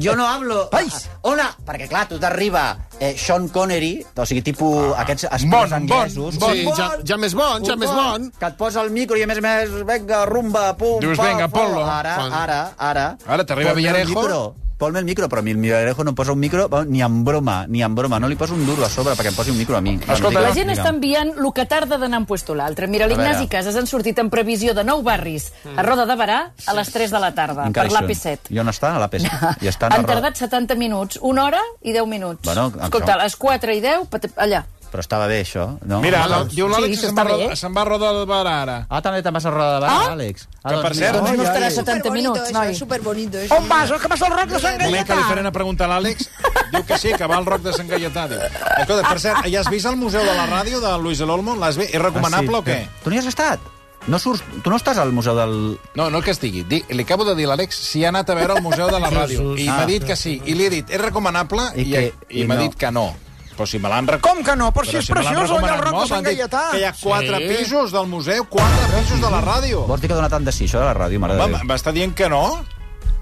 [SPEAKER 2] Jo no hablo...
[SPEAKER 3] Ais!
[SPEAKER 2] Ah, Hola! Perquè, clar, tu t'arriba eh, Sean Connery, o sigui, tipus aquests
[SPEAKER 1] bon,
[SPEAKER 2] espions
[SPEAKER 1] Ah. bon,
[SPEAKER 2] anglesos.
[SPEAKER 1] bon.
[SPEAKER 5] Sí, ja, ja més bon, ja
[SPEAKER 2] Un
[SPEAKER 5] més bon.
[SPEAKER 2] Que et posa el micro i, a més a més, venga, rumba, pum,
[SPEAKER 1] Dius,
[SPEAKER 2] pa,
[SPEAKER 1] venga,
[SPEAKER 2] pa.
[SPEAKER 1] ponlo.
[SPEAKER 2] Ara,
[SPEAKER 5] Pon.
[SPEAKER 2] ara, ara.
[SPEAKER 1] Ara t'arriba
[SPEAKER 2] Ponme el
[SPEAKER 1] Villarejo.
[SPEAKER 2] micro, Ponme el micro, però a mi el Villarejo no em posa un micro va, ni en broma, ni en broma. No li poso un duro a sobre perquè em posi un micro a mi.
[SPEAKER 1] Escolta,
[SPEAKER 4] La gent
[SPEAKER 2] Digue'm.
[SPEAKER 4] està enviant el que tarda d'anar en puesto l'altre. Mira,
[SPEAKER 2] veure.
[SPEAKER 4] l'Ignasi Casas han sortit en previsió de nou barris a Roda de Barà a les 3 de la tarda,
[SPEAKER 2] Encara hi
[SPEAKER 4] per
[SPEAKER 2] són.
[SPEAKER 4] l'AP7.
[SPEAKER 2] I on estan? A l'AP7. I estan
[SPEAKER 4] Han
[SPEAKER 2] a Roda-
[SPEAKER 4] tardat 70 minuts, una hora i 10 minuts.
[SPEAKER 2] Bueno, em
[SPEAKER 4] Escolta,
[SPEAKER 2] sembla-
[SPEAKER 4] a les 4 i 10, pat- allà.
[SPEAKER 2] Però estava bé, això, no?
[SPEAKER 1] Mira, la,
[SPEAKER 2] Ostres.
[SPEAKER 1] diu l'Àlex
[SPEAKER 4] Sí,
[SPEAKER 1] que se'n va,
[SPEAKER 4] s'està
[SPEAKER 1] roda-
[SPEAKER 4] bé.
[SPEAKER 1] se'n va a roda de bar ara.
[SPEAKER 2] Ah, també te'n vas a roda de bar,
[SPEAKER 4] Ah?
[SPEAKER 2] Àlex.
[SPEAKER 1] Que, per cert,
[SPEAKER 4] Doncs no
[SPEAKER 3] ai,
[SPEAKER 4] estarà
[SPEAKER 3] ai.
[SPEAKER 4] 70 minuts, noi.
[SPEAKER 6] Súper bonito eso.
[SPEAKER 4] On vas? On que vas al rock de Sant
[SPEAKER 1] Volia que
[SPEAKER 4] Gaietà?
[SPEAKER 1] li faré una pregunta a l'Àlex. Diu que sí, que va al Roc de Sant Gaietà. Diu. Escolta, per cert, ja has vist el Museu de la Ràdio de Luis El Olmo? L'has vist? És recomanable o què?
[SPEAKER 2] Tu no hi has estat? No surts, tu no estàs al museu del...
[SPEAKER 1] No, no el que estigui. Di, li acabo de dir a l'Àlex si ha anat a veure el Museu de la Ràdio. I m'ha dit que sí. I li he dit, és recomanable? Ah.
[SPEAKER 2] I
[SPEAKER 1] I,
[SPEAKER 2] que-
[SPEAKER 1] i,
[SPEAKER 2] i
[SPEAKER 1] i m'ha
[SPEAKER 2] no.
[SPEAKER 1] dit que no. Però si me l'han recomanat...
[SPEAKER 3] Com que no? Però si és preciós, allà el rock de Sant Gaietà.
[SPEAKER 1] Que hi ha quatre sí. pisos del museu, quatre pisos de la ràdio.
[SPEAKER 2] Vols dir que dona tant de sí, això de la ràdio, mare de
[SPEAKER 1] Va,
[SPEAKER 2] Déu.
[SPEAKER 1] m'està dient que no?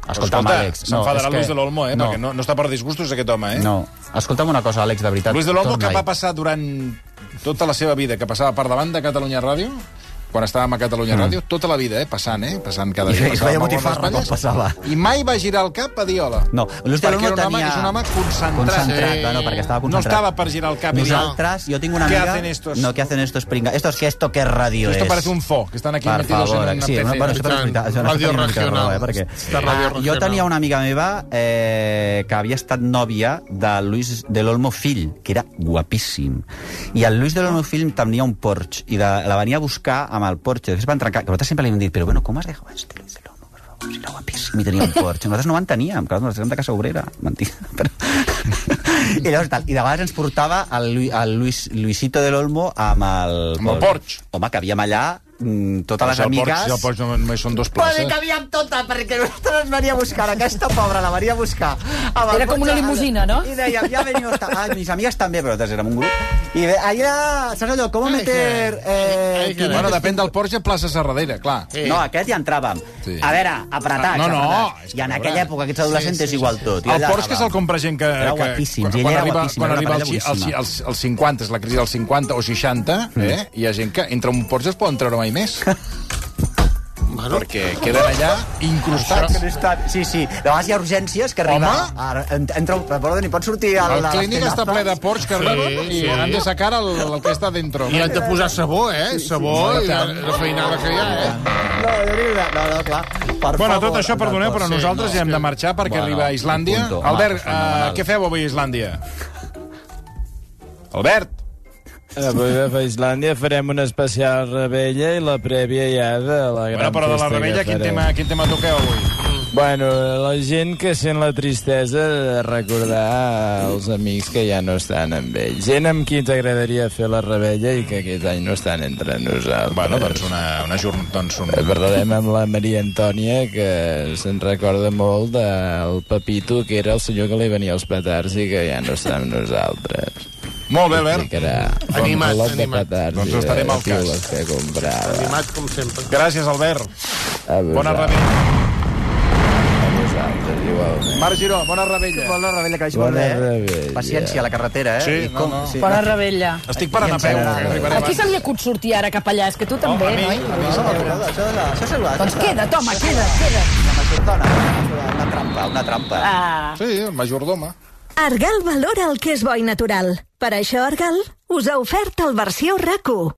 [SPEAKER 2] Escolta'm, Àlex.
[SPEAKER 1] S'enfadarà
[SPEAKER 2] és
[SPEAKER 1] no, Luis de l'Olmo, eh?
[SPEAKER 2] No,
[SPEAKER 1] Perquè no, no està per disgustos, aquest home, eh?
[SPEAKER 2] no. Escolta'm una cosa, Àlex, de veritat.
[SPEAKER 1] Luis de l'Olmo, que
[SPEAKER 2] torna-hi.
[SPEAKER 1] va passar durant tota la seva vida, que passava per davant de Catalunya Ràdio, quan estàvem a Catalunya Ràdio, tota la vida, eh, passant, eh, passant cada
[SPEAKER 2] Mm. I
[SPEAKER 1] dia.
[SPEAKER 2] es veia
[SPEAKER 1] Passàvem
[SPEAKER 2] botifarra
[SPEAKER 1] algunes
[SPEAKER 2] quan
[SPEAKER 1] balles,
[SPEAKER 2] passava.
[SPEAKER 1] I mai va girar el cap a dir hola.
[SPEAKER 2] No, l'Ús de
[SPEAKER 1] perquè
[SPEAKER 2] l'Olmo
[SPEAKER 1] era un home,
[SPEAKER 2] tenia-
[SPEAKER 1] és un home concentrat.
[SPEAKER 2] Concentrat,
[SPEAKER 1] Sí.
[SPEAKER 2] bueno, perquè estava
[SPEAKER 1] No
[SPEAKER 2] concentrat.
[SPEAKER 1] estava per girar el cap i dir...
[SPEAKER 2] Nosaltres, yo tengo una
[SPEAKER 1] ¿Qué
[SPEAKER 2] amiga...
[SPEAKER 1] hacen estos?
[SPEAKER 2] No, ¿qué hacen estos pringados? ¿Estos qué? ¿Esto qué radio
[SPEAKER 1] Esto
[SPEAKER 2] es?
[SPEAKER 1] parece un fo, que están aquí
[SPEAKER 2] per
[SPEAKER 1] metidos
[SPEAKER 2] favor,
[SPEAKER 1] en una
[SPEAKER 2] sí,
[SPEAKER 1] PC.
[SPEAKER 2] no, bueno, això t'ho
[SPEAKER 5] Estan
[SPEAKER 2] explica- això n'has
[SPEAKER 5] radio
[SPEAKER 2] tenit una mica de raó, eh,
[SPEAKER 5] regional.
[SPEAKER 2] perquè,
[SPEAKER 5] Està radio
[SPEAKER 2] ah, jo
[SPEAKER 5] regional.
[SPEAKER 2] tenia una amiga meva eh, que havia estat nòvia de Luis de l'Olmo Fill, que era guapíssim. I el Luis de l'Olmo Fill tenia un Porsche, i de, la venia a buscar amb el Porsche. Després van trencar, que nosaltres sempre li hem dit, però bueno, com has deixat este Luis de l'Olmo? per favor, si era guapíssim i tenia un Porsche. Nosaltres no en teníem, clar, nosaltres érem de casa obrera. Mentida, però... I llavors, tal, i de vegades ens portava el, Lu- el Luis, Luisito de l'Olmo amb el...
[SPEAKER 1] Amb el Porsche.
[SPEAKER 2] Home, que havíem allà mm, totes les
[SPEAKER 1] Si el
[SPEAKER 2] amigues...
[SPEAKER 1] Porsche- si el Porsche només- només són dos
[SPEAKER 2] Poder que
[SPEAKER 1] places.
[SPEAKER 2] havíem tota, perquè nosaltres ens venia a buscar, aquesta pobra la venia a buscar. Amb el
[SPEAKER 4] Era com
[SPEAKER 2] cotxe
[SPEAKER 4] una limusina, no?
[SPEAKER 2] I deia, ja veniu... Ah, mis amigues també, però nosaltres érem un grup. I de, ahí era, saps allò, com meter... Eh,
[SPEAKER 5] que-
[SPEAKER 1] Bueno, depèn del Porsche, places a darrere, clar.
[SPEAKER 5] Sí.
[SPEAKER 2] No, aquest ja entràvem.
[SPEAKER 1] Sí.
[SPEAKER 2] A veure, apretats,
[SPEAKER 1] Ah, no, eh. no, és
[SPEAKER 2] apretats.
[SPEAKER 1] que
[SPEAKER 2] I en
[SPEAKER 1] a
[SPEAKER 2] aquella
[SPEAKER 1] veure.
[SPEAKER 2] època, aquests adolescents és igual tot. I
[SPEAKER 1] El
[SPEAKER 2] allà
[SPEAKER 1] Porsche que se'l
[SPEAKER 2] anàvem.
[SPEAKER 1] compra gent que...
[SPEAKER 2] Era
[SPEAKER 1] que-
[SPEAKER 2] guapíssim,
[SPEAKER 1] quan-
[SPEAKER 2] ell
[SPEAKER 1] quan
[SPEAKER 2] era
[SPEAKER 1] arriba,
[SPEAKER 2] guapíssim,
[SPEAKER 1] Quan
[SPEAKER 2] era una
[SPEAKER 1] arriba
[SPEAKER 2] parella
[SPEAKER 1] als, als,
[SPEAKER 2] boníssima.
[SPEAKER 1] als, als 50, és la crisi dels 50 o 60,
[SPEAKER 2] Mm.
[SPEAKER 1] eh? hi ha gent que entre un Porsche es poden treure mai més.
[SPEAKER 5] Bueno,
[SPEAKER 1] Perquè queden allà incrustats.
[SPEAKER 2] Que no està... Sí, sí. De vegades hi ha urgències que arriba... Home! Entra, perdona, i pot sortir... A
[SPEAKER 1] El
[SPEAKER 2] la,
[SPEAKER 1] clínic està ple de porcs que arriben i
[SPEAKER 5] sí.
[SPEAKER 1] han de sacar el, el que està dentro.
[SPEAKER 5] I han de posar sabó, eh? Sabó i la, la feinada que hi ha, eh?
[SPEAKER 2] No, jo dic, no, no, clar. Per
[SPEAKER 1] Bueno, tot
[SPEAKER 2] favor,
[SPEAKER 1] això, perdoneu, però
[SPEAKER 5] Sí,
[SPEAKER 1] nosaltres
[SPEAKER 5] no,
[SPEAKER 1] ja hem
[SPEAKER 5] sí.
[SPEAKER 1] de marxar perquè
[SPEAKER 2] Bueno,
[SPEAKER 1] arriba a Islàndia.
[SPEAKER 2] un punto. Home,
[SPEAKER 1] Albert,
[SPEAKER 2] pues fenomenal.
[SPEAKER 1] eh, què feu avui a Islàndia? Albert!
[SPEAKER 9] Avui a Islàndia farem una especial rebella i la prèvia ja de la gran
[SPEAKER 1] Bueno, però de la
[SPEAKER 9] festa que
[SPEAKER 1] rebella, quin
[SPEAKER 9] farem.
[SPEAKER 1] tema, quin tema toqueu avui?
[SPEAKER 9] Bueno, la gent que sent la tristesa de recordar els amics que ja no estan amb ells. Gent amb qui t'agradaria fer la rebella i que aquest any no estan entre nosaltres.
[SPEAKER 1] Bueno, doncs una, una jornada... Doncs un...
[SPEAKER 9] Eh, Parlarem amb la Maria Antònia, que se'n recorda molt del Pepito, que era el senyor que li venia els petards i que ja no està amb nosaltres.
[SPEAKER 1] Molt bé, Albert.
[SPEAKER 9] Ficarà
[SPEAKER 5] Animat,
[SPEAKER 9] un lot de
[SPEAKER 5] animat.
[SPEAKER 9] petards
[SPEAKER 1] Doncs
[SPEAKER 9] i de
[SPEAKER 1] estarem al cas.
[SPEAKER 9] piules que comprava.
[SPEAKER 5] Animat com sempre.
[SPEAKER 1] Gràcies, Albert.
[SPEAKER 9] A vosaltres,
[SPEAKER 1] Bona rebella.
[SPEAKER 9] A vosaltres, igualment.
[SPEAKER 1] Marc Giró, bona rebella.
[SPEAKER 2] Bona rebella, que vagi
[SPEAKER 9] Bona
[SPEAKER 2] molt bé.
[SPEAKER 9] rebella.
[SPEAKER 2] eh? Paciència a la carretera, eh?
[SPEAKER 1] Sí,
[SPEAKER 2] I
[SPEAKER 1] no, no.
[SPEAKER 2] Sí.
[SPEAKER 4] Bona rebella.
[SPEAKER 1] Estic parant a peu, que arribaré
[SPEAKER 4] A qui
[SPEAKER 1] abans.
[SPEAKER 4] se li acut sortir ara cap allà? És que tu també,
[SPEAKER 1] mi,
[SPEAKER 4] no?
[SPEAKER 1] a mi se
[SPEAKER 2] Això és la- això és la-
[SPEAKER 4] Doncs queda't, home, queda't, queda't.
[SPEAKER 2] La majordona, una trampa, una trampa.
[SPEAKER 4] Ah.
[SPEAKER 1] Sí, el majordoma.
[SPEAKER 10] Argal valora el que és bo i natural. Per això Argal us ha ofert el versió RAC1.